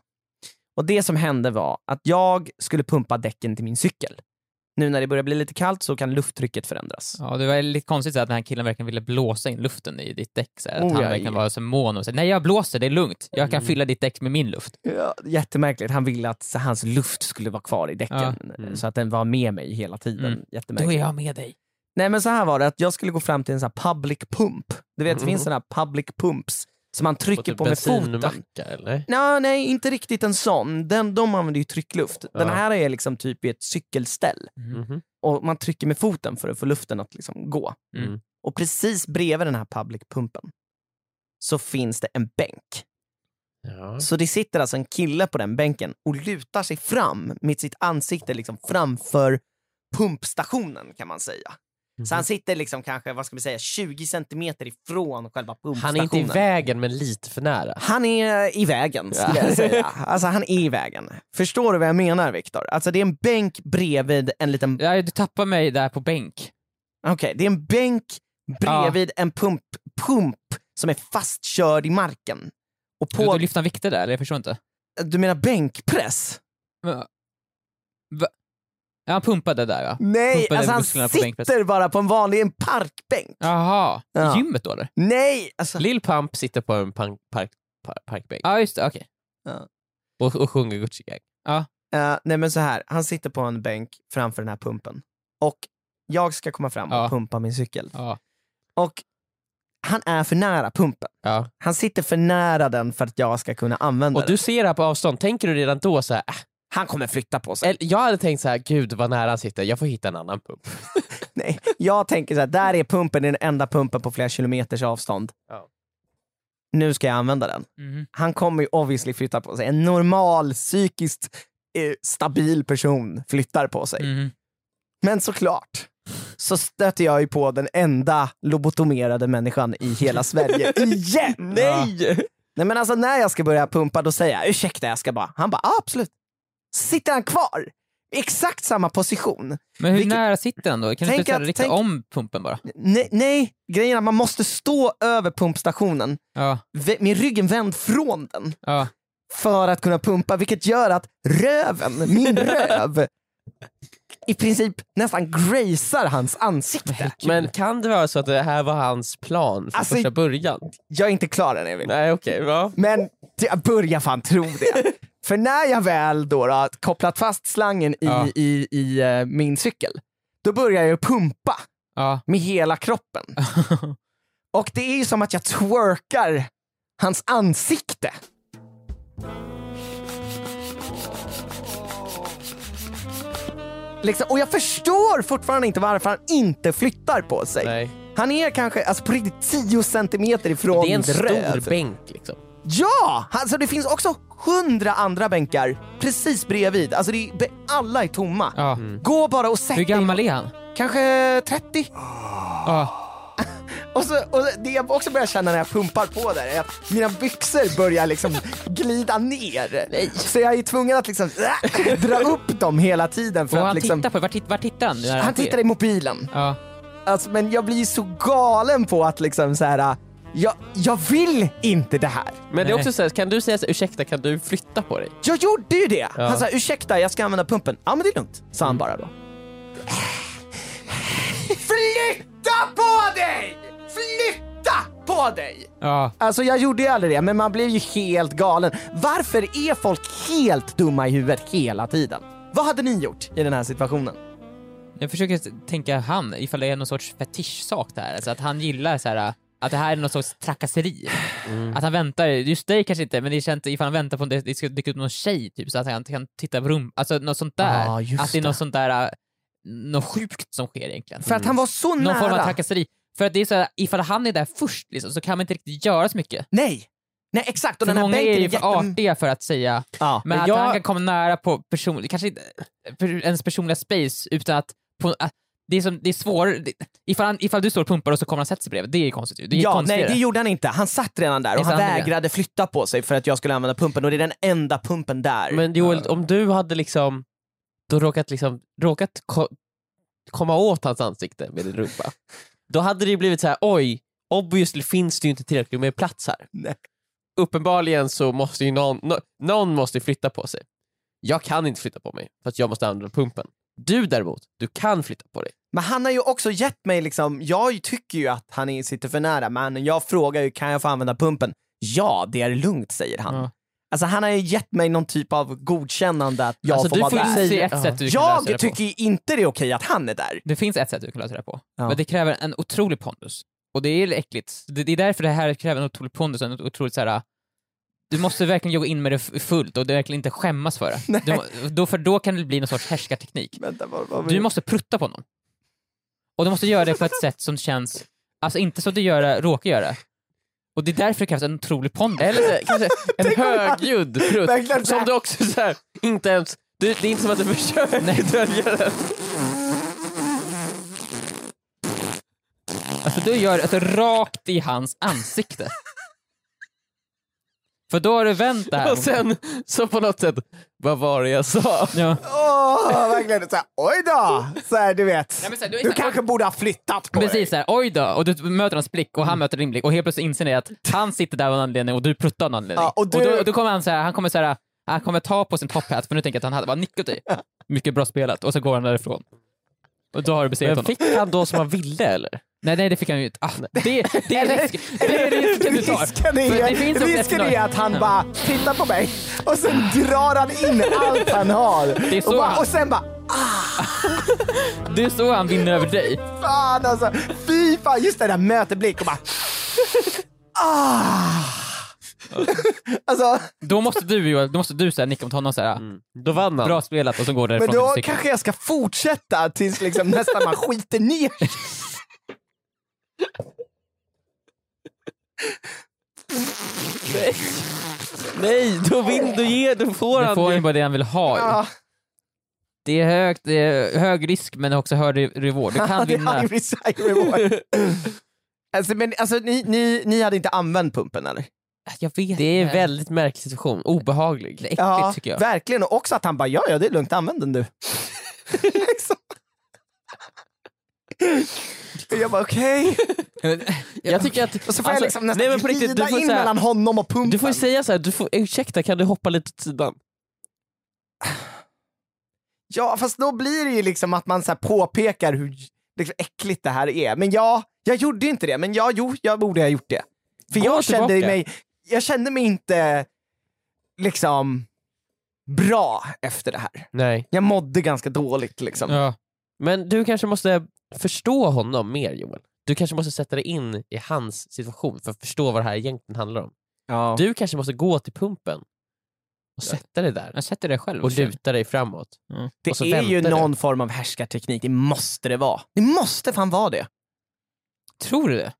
Speaker 3: Och det som hände var att jag skulle pumpa däcken till min cykel. Nu när det börjar bli lite kallt så kan lufttrycket förändras.
Speaker 4: Ja, det var lite konstigt så här att den här killen verkligen ville blåsa in luften i ditt däck. Så här, att
Speaker 3: Oh,
Speaker 4: han
Speaker 3: ja,
Speaker 4: verkligen
Speaker 3: ja.
Speaker 4: var så mån om sig. Nej, jag blåser, det är lugnt. Jag kan
Speaker 2: Mm.
Speaker 4: fylla ditt däck med min luft.
Speaker 3: Ja, jättemärkligt. Han ville att hans luft skulle vara kvar i däcken.
Speaker 2: Mm.
Speaker 3: Så att den var med mig hela tiden.
Speaker 4: Mm. Då
Speaker 3: Jättemärkligt.
Speaker 4: är jag med dig.
Speaker 3: Nej men så här var det, att jag skulle gå fram till en sån här public pump. Du vet, det finns såna här public pumps som man trycker
Speaker 2: Och typ
Speaker 3: på med foten.
Speaker 2: bensinmacka, eller?
Speaker 3: Nå, nej, inte riktigt en sån. Den, de använder ju tryckluft. Den
Speaker 2: Ja.
Speaker 3: här är liksom typ i ett cykelställ.
Speaker 2: Mhm.
Speaker 3: Och man trycker med foten för att få luften att liksom gå.
Speaker 2: Mm.
Speaker 3: Och precis bredvid den här public pumpen så finns det en bänk.
Speaker 2: Ja.
Speaker 3: Så det sitter alltså en kille på den bänken och lutar sig fram med sitt ansikte liksom framför pumpstationen kan man säga.
Speaker 2: Mhm.
Speaker 3: Så han sitter liksom kanske, vad ska vi säga, 20 centimeter ifrån själva
Speaker 2: Han
Speaker 3: pumpstationen.
Speaker 2: är inte i vägen men lite för nära.
Speaker 3: Han är i vägen skulle jag säga. Alltså han är i vägen. Förstår du vad jag menar Viktor? Alltså det är en bänk bredvid en liten...
Speaker 4: Ja, du tappar mig där på bänk.
Speaker 3: Okej, det är en bänk bredvid en pump, pump som är fastkörd i marken. Och
Speaker 4: På...
Speaker 3: på...
Speaker 4: Du lyfter vikter där, eller jag förstår inte.
Speaker 3: Du menar bänkpress?
Speaker 4: Men, va? Ja, han pumpade där ja.
Speaker 3: Nej,
Speaker 4: Pumpade
Speaker 3: alltså han
Speaker 4: musklerna på bänkpress.
Speaker 3: sitter bara på en vanlig en parkbänk.
Speaker 4: Jaha,
Speaker 3: Ja.
Speaker 4: i gymmet då eller?
Speaker 3: Nej! Alltså,
Speaker 2: Lil Pump sitter på en park, park, park, parkbänk
Speaker 4: Ja, just det, okej.
Speaker 2: och, och sjunger Gucci Gang.
Speaker 3: eh, nej men så här, han sitter på en bänk framför den här pumpen. Och jag ska komma fram och
Speaker 4: Ja.
Speaker 3: pumpa min cykel.
Speaker 4: Ja.
Speaker 3: Och han är för nära pumpen.
Speaker 2: Ja.
Speaker 3: Han sitter för nära den för att jag ska kunna använda
Speaker 2: Och du
Speaker 3: den.
Speaker 2: ser det här på avstånd, tänker du redan då så här, äh,
Speaker 3: Han kommer flytta på sig.
Speaker 2: eller, jag hade tänkt så här, gud vad nära han sitter, jag får hitta en annan pump.
Speaker 3: Nej, jag tänker så här, där är pumpen, det är den enda pumpen på flera kilometers avstånd.
Speaker 2: Ja.
Speaker 3: Nu ska jag använda den.
Speaker 4: Mhm.
Speaker 3: Han kommer ju obviously flytta på sig. En normal, psykiskt eh, stabil person flyttar på sig.
Speaker 4: Mhm.
Speaker 3: Men såklart så stöter jag ju på den enda lobotomerade människan i hela
Speaker 4: (laughs)
Speaker 3: Sverige igen.
Speaker 4: Nej!
Speaker 3: Nej men alltså när jag ska börja pumpa då säger jag ursäkta jag ska bara, han bara "Ja, absolut. Sitter han kvar? Exakt samma position.
Speaker 4: Men hur
Speaker 3: Vilket-
Speaker 4: nära sitter han då? Kan du
Speaker 3: Tänk
Speaker 4: inte så här
Speaker 3: att-
Speaker 4: rikta
Speaker 3: tänk-
Speaker 4: om pumpen bara?
Speaker 3: Nej, nej, grejen är att man måste stå över pumpstationen
Speaker 4: Ja,
Speaker 3: v- med ryggen vänd från den
Speaker 4: ja.
Speaker 3: för att kunna pumpa, vilket gör att röven,
Speaker 4: (laughs)
Speaker 3: min röv, i princip nästan gracear hans ansikte.
Speaker 2: Men kan det vara så att det här var hans plan från
Speaker 3: Alltså-
Speaker 2: första början?
Speaker 3: Jag är inte klar än Emil.
Speaker 2: Nej okej, va?
Speaker 3: Men jag börjar fan tro
Speaker 2: (laughs)
Speaker 3: det. För när jag väl då, då har kopplat fast slangen i,
Speaker 4: Ja.
Speaker 3: i, i eh, min cykel, då börjar jag pumpa
Speaker 4: ja.
Speaker 3: med
Speaker 2: (laughs)
Speaker 3: hela kroppen. Och det är ju som att jag twerkar hans ansikte. Liksom, och jag förstår fortfarande inte varför han inte flyttar på sig.
Speaker 2: Nej.
Speaker 3: Han är kanske alltså, på riktigt 10 centimeter ifrån
Speaker 2: Det är en
Speaker 3: mitt
Speaker 2: stor
Speaker 3: röv.
Speaker 2: bänk liksom.
Speaker 3: Ja! Alltså det finns också hundra andra bänkar precis bredvid. Alltså det är, be- alla är tomma.
Speaker 4: ja.
Speaker 3: Gå bara och sätt
Speaker 4: Hur
Speaker 3: dig.
Speaker 4: gammal är han?
Speaker 3: Kanske 30?
Speaker 4: Ja.
Speaker 3: Och, så, och det jag också börjar känna när jag pumpar på där är att mina byxor börjar liksom glida ner. Så jag är tvungen att liksom äh, dra upp dem hela tiden. För
Speaker 4: Och
Speaker 3: att
Speaker 4: han
Speaker 3: liksom,
Speaker 4: tittar på Vart, tit- vart tittar han? när
Speaker 3: han
Speaker 4: sker?
Speaker 3: tittar i mobilen.
Speaker 4: Ja.
Speaker 3: Alltså, men jag blir ju så galen på att liksom så här. äh, Jag, jag vill inte det här.
Speaker 2: Men det är också så här, kan du säga så här, ursäkta kan du flytta på dig?
Speaker 3: Jag gjorde ju det! Han sa ursäkta jag ska använda pumpen. Ja men det är lugnt, sa
Speaker 4: Mm.
Speaker 3: han bara då. Flytta på dig! Flytta på dig!
Speaker 4: Ja.
Speaker 3: Alltså jag gjorde ju aldrig det, men man blev ju helt galen. Varför är folk helt dumma i huvudet hela tiden? Vad hade ni gjort i den här situationen?
Speaker 4: Jag försöker s- tänka han, ifall det är någon sorts fetischsak det här. Alltså att han gillar så här, att det här är någon sorts trakasserier.
Speaker 3: Mm.
Speaker 4: Att han väntar, just dig kanske inte, men det känns ifall han väntar på att det- det ska dyka upp någon tjej typ, så att han kan titta på rummet. Alltså något sånt där.
Speaker 3: Ja, Ah, just
Speaker 4: att det är
Speaker 3: det.
Speaker 4: något sånt där, äh, något sjukt som sker egentligen.
Speaker 3: För att han var så
Speaker 4: Mm. någon
Speaker 3: nära.
Speaker 4: form av trakasseri. För att det är så här, ifall han är där först liksom, så kan man inte riktigt göra så mycket.
Speaker 3: Nej! Nej exakt, och
Speaker 4: För
Speaker 3: den här
Speaker 4: många
Speaker 3: bänken
Speaker 4: är
Speaker 3: är
Speaker 4: ju för
Speaker 3: jätte...
Speaker 4: artiga för att säga,
Speaker 3: Ja.
Speaker 4: men,
Speaker 2: Men
Speaker 4: att
Speaker 2: jag-
Speaker 4: han kan komma nära på person, kanske inte per- ens personliga space utan att, på, att det är, som, det är svårare, det, ifall, han, ifall du står och pumpar och så kommer han sätta sig bredvid, det är ju konstigt ju. Det är
Speaker 3: Ja, nej
Speaker 4: konstigare.
Speaker 3: det gjorde han inte. Han satt redan där och
Speaker 4: Det är
Speaker 3: han
Speaker 4: sant, det.
Speaker 3: vägrade flytta på sig för att jag skulle använda pumpen och det är den enda pumpen där.
Speaker 2: Men Joel, om du hade liksom, då råkat, liksom, råkat ko- komma åt hans ansikte med din rumpa, då hade det ju blivit så här: oj, obviously finns det ju inte tillräckligt med plats här.
Speaker 3: Nej.
Speaker 2: Uppenbarligen så måste ju någon, nå- någon måste ju flytta på sig. Jag kan inte flytta på mig för att jag måste använda pumpen. Du däremot, du kan flytta på dig.
Speaker 3: Men han har ju också gett mig liksom, jag tycker ju att han är- sitter för nära men jag frågar ju kan jag få använda pumpen? Ja, det är lugnt säger han.
Speaker 4: Ja.
Speaker 3: Alltså han har ju gett mig någon typ av godkännande att jag
Speaker 2: Alltså,
Speaker 3: får
Speaker 2: du
Speaker 3: vara
Speaker 2: får ju
Speaker 3: där.
Speaker 4: Det finns ju
Speaker 2: säga-
Speaker 4: ett sätt du kan lösa det
Speaker 3: Jag
Speaker 4: på.
Speaker 3: tycker ju inte det är okej att han är där.
Speaker 4: Det finns ett sätt du kan lösa det på,
Speaker 3: Ja.
Speaker 4: men det kräver en otrolig pondus. Och det är äckligt. Det, det är därför det här kräver en otrolig pondus, en otroligt så här. Du måste verkligen jobba in med det f- fullt och du verkligen inte
Speaker 3: (laughs)
Speaker 4: skämmas för det. Du, må- då, för då kan det bli någon sorts härskarteknik.
Speaker 3: Vänta, vad, vad
Speaker 2: Mm.
Speaker 4: Du måste prutta på någon. Och du måste göra det på ett sätt som känns, alltså inte så att du gör det, råkar göra det. Och det är därför det krävs en otrolig pondus.
Speaker 2: Eller så, kanske en högljudd
Speaker 3: Verkligen
Speaker 2: prutt
Speaker 3: så här.
Speaker 2: som du också så här, inte ens, du, det är inte som att du försöker dölja den.
Speaker 4: Alltså du gör det alltså, rakt i hans ansikte. För då har du vänt det här.
Speaker 2: Och sen så på något sätt, vad var det jag sa?
Speaker 4: Ja.
Speaker 3: Åh, verkligen. Så här, oj då! Så här, du vet.
Speaker 4: men så här,
Speaker 3: du
Speaker 4: du är så här-
Speaker 3: kanske borde ha flyttat på dig. Mm.
Speaker 4: Precis såhär, oj då, och du möter hans blick och han möter din blick och helt plötsligt inser ni att han sitter där av en anledning och du pruttar av en anledning.
Speaker 3: Ja, och du-
Speaker 4: då, och då kommer han såhär, han kommer såhär, han kommer ta på sin top hat för nu tänker jag att han hade bara
Speaker 3: (laughs)
Speaker 4: nickat dig. Mycket bra spelat, och så går han därifrån. Och då har du besegrat
Speaker 2: Men
Speaker 4: honom.
Speaker 2: fick han då som han ville eller?
Speaker 4: Nej, nej, det fick han ju inte. Ah, det, det är risk,
Speaker 3: (laughs)
Speaker 4: det är risken du tar.
Speaker 3: Risken
Speaker 4: För
Speaker 3: är,
Speaker 4: det finns också ett
Speaker 3: risken
Speaker 4: scenario-
Speaker 3: är att han
Speaker 4: Ja.
Speaker 3: bara tittar på mig och sen drar han in allt han har.
Speaker 4: är så
Speaker 3: och, bara,
Speaker 4: han-
Speaker 3: och sen bara,
Speaker 4: Det är så han vinner över dig.
Speaker 3: fan alltså. Fy fan, just det där möteblick och bara... Ah. Alltså,
Speaker 4: Då måste du Joel, då måste du såhär nicka mot honom såhär,
Speaker 2: Då vann han.
Speaker 4: bra spelat och så går
Speaker 3: men
Speaker 4: därifrån.
Speaker 3: då
Speaker 4: till cykeln.
Speaker 3: kanske jag ska fortsätta tills liksom nästan man skiter ner sig.
Speaker 2: Nej, då, vin, då, ger, då får
Speaker 4: Du
Speaker 2: han
Speaker 4: får
Speaker 2: ju-
Speaker 4: ju bara det han vill ha. ju.
Speaker 3: Ah.
Speaker 4: Det är, högt, det är hög risk men också hög re- reward. Du
Speaker 3: (laughs)
Speaker 4: kan
Speaker 3: det är
Speaker 4: vinna.
Speaker 3: high risk, high reward. alltså, men, alltså, ni, ni, ni hade inte använt pumpen eller?
Speaker 4: jag vet
Speaker 2: Det är en
Speaker 4: inte.
Speaker 2: väldigt märklig situation. Obehaglig.
Speaker 4: Det är äckligt
Speaker 3: Ja,
Speaker 4: tycker jag.
Speaker 3: verkligen. Och också att han bara, ja ja det är lugnt, använd den du. (laughs) liksom. Jag bara okej.
Speaker 2: Jag tycker att...
Speaker 3: Och så får jag
Speaker 2: alltså,
Speaker 3: liksom nästan
Speaker 2: nej, men på riktigt, du
Speaker 3: glida
Speaker 2: får
Speaker 3: in
Speaker 2: säga-
Speaker 3: mellan honom och pumpen.
Speaker 2: Du får ju säga så här, du får, ursäkta kan du hoppa lite åt sidan?
Speaker 3: Ja fast då blir det ju liksom att man så här påpekar hur liksom, äckligt det här är. Men ja, jag gjorde inte det. Men ja, jo, jag borde ha gjort det. För
Speaker 2: Gå
Speaker 3: jag kände,
Speaker 2: tillbaka.
Speaker 3: mig, jag kände mig inte liksom bra efter det här.
Speaker 2: Nej.
Speaker 3: Jag mådde ganska dåligt liksom.
Speaker 4: Ja.
Speaker 2: Men du kanske måste förstå honom mer Joel. Du kanske måste sätta dig in i hans situation för att förstå vad det här egentligen handlar om.
Speaker 3: Ja.
Speaker 2: Du kanske måste gå till pumpen och sätta dig där
Speaker 4: Jag sätter det själv.
Speaker 2: och luta dig framåt. och så
Speaker 3: Det är ju
Speaker 2: väntar du.
Speaker 3: någon form av härskarteknik, det måste det vara. Det måste fan vara det.
Speaker 4: Tror du det?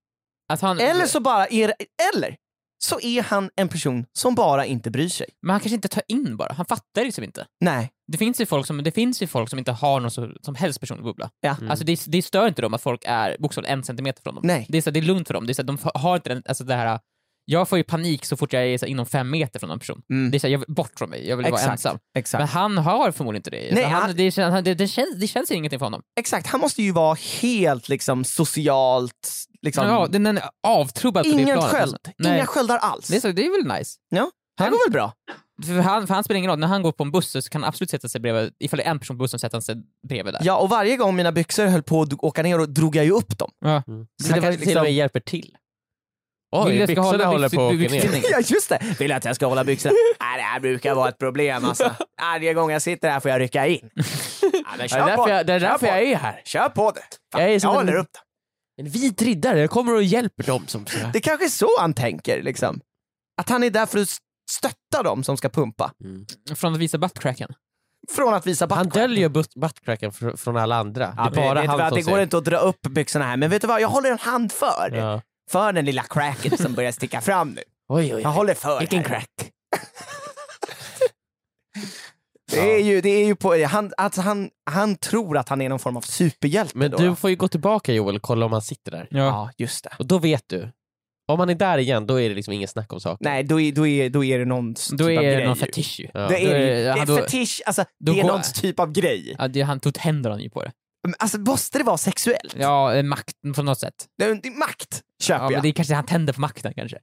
Speaker 4: Att han,
Speaker 3: Eller så bara är det, eller så är han en person som bara inte bryr sig.
Speaker 4: Men han kanske inte tar in bara, han fattar liksom inte.
Speaker 3: Nej.
Speaker 4: Det finns ju folk som, det finns ju folk som inte har någon så, som helst personlig bubbla.
Speaker 3: Ja.
Speaker 2: Mm.
Speaker 4: Alltså det, det stör inte dem att folk är bokstavligen en centimeter från dem.
Speaker 3: Nej.
Speaker 4: Det, är så, det är lugnt för dem. Det är så, de har inte den, alltså det här, jag får ju panik så fort jag är så, inom fem meter från någon person.
Speaker 3: Mm.
Speaker 4: Det är så, jag vill bort från mig, jag vill vara
Speaker 3: Exakt.
Speaker 4: ensam.
Speaker 3: Exakt.
Speaker 4: Men han har förmodligen inte det.
Speaker 3: Nej,
Speaker 4: han,
Speaker 3: han-
Speaker 4: det, kän- han, det, det, känns, det känns ingenting för honom.
Speaker 3: Exakt, han måste ju vara helt liksom socialt... Liksom,
Speaker 4: Ja, den den är avtrubbad på det
Speaker 3: ingen
Speaker 2: alltså.
Speaker 4: planet.
Speaker 3: sköld,
Speaker 4: Nej.
Speaker 3: inga sköldar alls.
Speaker 4: Det, är så, det är väl nice?
Speaker 3: Ja, det
Speaker 4: Han-
Speaker 3: går väl bra?
Speaker 4: För han, för han spelar ingen roll, när han går på en buss så kan han absolut sätta sig bredvid, ifall det är en person på bussen sätter han sig bredvid där.
Speaker 3: Ja, och varje gång mina byxor höll på att åka ner och drog jag ju upp dem.
Speaker 4: Ja.
Speaker 2: Mm. Så
Speaker 3: Så
Speaker 2: det
Speaker 3: han
Speaker 2: var
Speaker 3: kanske
Speaker 2: till och med
Speaker 3: liksom-
Speaker 2: hjälper till.
Speaker 4: Vill
Speaker 2: Oj,
Speaker 4: jag ska
Speaker 2: byxorna
Speaker 4: hålla
Speaker 2: håller
Speaker 4: byxor-
Speaker 2: på att åka
Speaker 4: byxor-
Speaker 2: ner.
Speaker 3: (laughs) Ja, just det! Vill att jag ska hålla (laughs) byxorna? Nej, det här brukar vara ett problem alltså. Varje gång jag sitter här får jag rycka in. (laughs) Ja, men
Speaker 2: Det är
Speaker 3: kör på
Speaker 2: därför
Speaker 3: det.
Speaker 2: jag, det är
Speaker 3: Kör
Speaker 2: därför
Speaker 3: på
Speaker 2: jag
Speaker 3: det.
Speaker 2: är här.
Speaker 3: Kör på det! Fan,
Speaker 2: Jag är
Speaker 3: jag,
Speaker 2: som en-
Speaker 3: håller upp det.
Speaker 2: En vit riddare, jag kommer och hjälper dem som...
Speaker 3: Det är kanske är så han tänker. Liksom. Att han är där för att stötta dem som ska pumpa.
Speaker 4: Från att visa buttcracken.
Speaker 3: Från att visa
Speaker 2: Han
Speaker 3: buttcrack.
Speaker 2: döljer butt- buttcracken fr- från alla andra.
Speaker 3: Ja,
Speaker 2: det är bara
Speaker 3: vet du
Speaker 2: han
Speaker 3: vad,
Speaker 2: som
Speaker 3: det går
Speaker 2: ser.
Speaker 3: inte att dra upp byxorna här, men vet du vad? Jag håller en hand för.
Speaker 2: Ja.
Speaker 3: För den lilla cracken som börjar sticka fram nu.
Speaker 2: Oj, oj,
Speaker 3: Jag
Speaker 2: oj.
Speaker 3: håller för.
Speaker 2: Vilken
Speaker 3: här.
Speaker 2: crack.
Speaker 3: (laughs) Det är ju, det är ju på, han, alltså han, han tror att han är någon form av superhjälte
Speaker 2: Men
Speaker 3: då.
Speaker 2: du får ju gå tillbaka Joel och kolla om han sitter där.
Speaker 3: Ja, just det.
Speaker 2: Och då vet du. Om han är där igen, då är det liksom inget snack om saken.
Speaker 3: Nej, då är, då är, då är det någon s-
Speaker 4: Då
Speaker 3: typ av
Speaker 4: är det
Speaker 3: grej
Speaker 4: någon
Speaker 3: ju.
Speaker 4: fetisch ju.
Speaker 2: Ja.
Speaker 3: Det
Speaker 4: Då
Speaker 3: är,
Speaker 4: är-
Speaker 3: det
Speaker 4: han-
Speaker 3: är
Speaker 4: då-
Speaker 3: fetisch, alltså,
Speaker 4: då
Speaker 3: det är
Speaker 4: går-
Speaker 3: någon typ av grej.
Speaker 4: Ja, det, han tog händerna ju på det.
Speaker 3: Men Alltså, måste det vara sexuellt?
Speaker 4: Ja, eh, makten på något sätt.
Speaker 3: Det är, det är makt, köper
Speaker 4: Ja,
Speaker 3: jag.
Speaker 4: men det är kanske han tänder på makten kanske.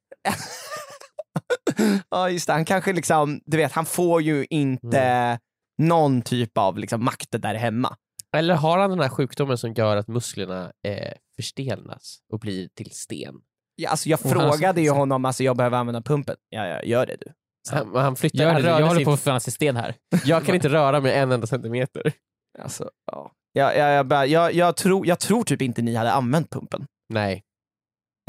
Speaker 3: Ja just det, han kanske liksom, du vet han får ju inte
Speaker 2: Mm.
Speaker 3: någon typ av liksom, makt där hemma.
Speaker 2: Eller har han den här sjukdomen som gör att musklerna eh, förstelnas och blir till sten?
Speaker 3: Ja, alltså, jag
Speaker 4: Och han-
Speaker 3: frågade ju honom, alltså, jag behöver använda pumpen. Ja, ja gör det du.
Speaker 2: Han, han flyttar,
Speaker 4: Gör
Speaker 2: han
Speaker 4: det,
Speaker 2: rörde
Speaker 4: jag håller
Speaker 2: sig
Speaker 4: på att förvandlas i sten här.
Speaker 2: inte. jag kan inte röra mig en enda centimeter.
Speaker 3: Alltså, ja. Ja, ja, jag, bara- jag, jag, tror, jag tror typ inte ni hade använt pumpen.
Speaker 2: Nej.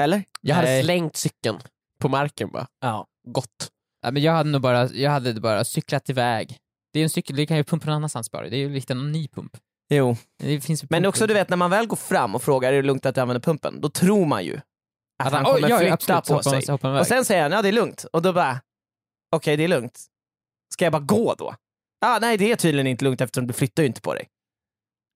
Speaker 3: Eller?
Speaker 2: Jag hade
Speaker 4: Nej.
Speaker 2: slängt cykeln på marken bara.
Speaker 3: Ja.
Speaker 2: Gott.
Speaker 4: Ja, men jag hade nog bara, jag hade bara cyklat iväg. Det är en cykel, det kan ju pumpa någon annanstans bara. Det är ju lite en ny pump.
Speaker 3: Jo.
Speaker 4: Det finns ju
Speaker 3: Men
Speaker 4: pump-
Speaker 3: också du vet när man väl går fram och frågar är det lugnt att jag använder pumpen, då tror man ju att, han
Speaker 4: Alltså, Oj,
Speaker 3: kommer
Speaker 4: ja, ja,
Speaker 3: flytta
Speaker 4: absolut,
Speaker 3: på
Speaker 4: hoppa-
Speaker 3: sig.
Speaker 4: hoppa iväg.
Speaker 3: Och sen säger han ja det är lugnt och då bara okej det är lugnt. Ska jag bara gå då? Ah, nej det är tydligen inte lugnt eftersom du flyttar ju inte på dig.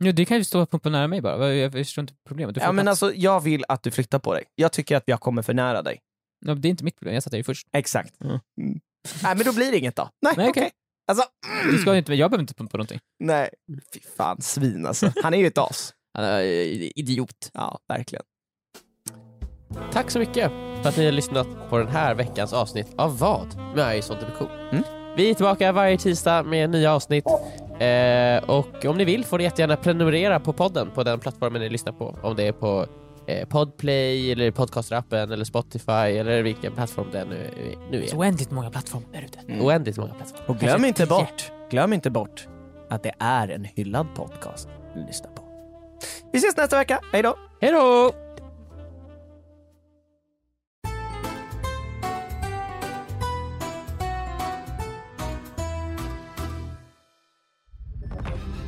Speaker 4: Jo, det kan ju stå pumpen nära mig bara. Jag jag förstår inte problemet. Du får
Speaker 3: Ja, men
Speaker 4: plats.
Speaker 3: alltså, jag vill att du flyttar på dig. Jag tycker att jag kommer för nära dig.
Speaker 4: Ja, det är inte mitt problem, jag satt där ju först.
Speaker 3: Exakt. Mm. Nej men då blir det inget då. Nej,
Speaker 4: Nej,
Speaker 3: okej.
Speaker 4: okej.
Speaker 3: Alltså,
Speaker 4: Det ska jag, inte, jag behöver inte pumpa någonting.
Speaker 3: nej. Fy fan, svin alltså. Han är ju ett as.
Speaker 4: Han är Idiot.
Speaker 3: Ja, verkligen.
Speaker 2: Tack så mycket för att ni har lyssnat på den här veckans avsnitt av Vad? Med Är ju sånt är det cool.
Speaker 3: Mm.
Speaker 2: Vi är tillbaka varje tisdag med nya avsnitt. Eh, och om ni vill får ni jättegärna prenumerera på podden på den plattformen ni lyssnar på. Om det är på eh, Podplay, eller podcasterappen, eller Spotify eller vilken plattform det nu, nu
Speaker 4: Så
Speaker 2: är.
Speaker 4: oändligt många plattformar där ute.
Speaker 2: Oändligt många plattformar.
Speaker 3: Och glöm inte bort, glöm inte bort att det är en hyllad podcast ni lyssnar på. Vi ses nästa vecka. Hej då!
Speaker 2: Hej då!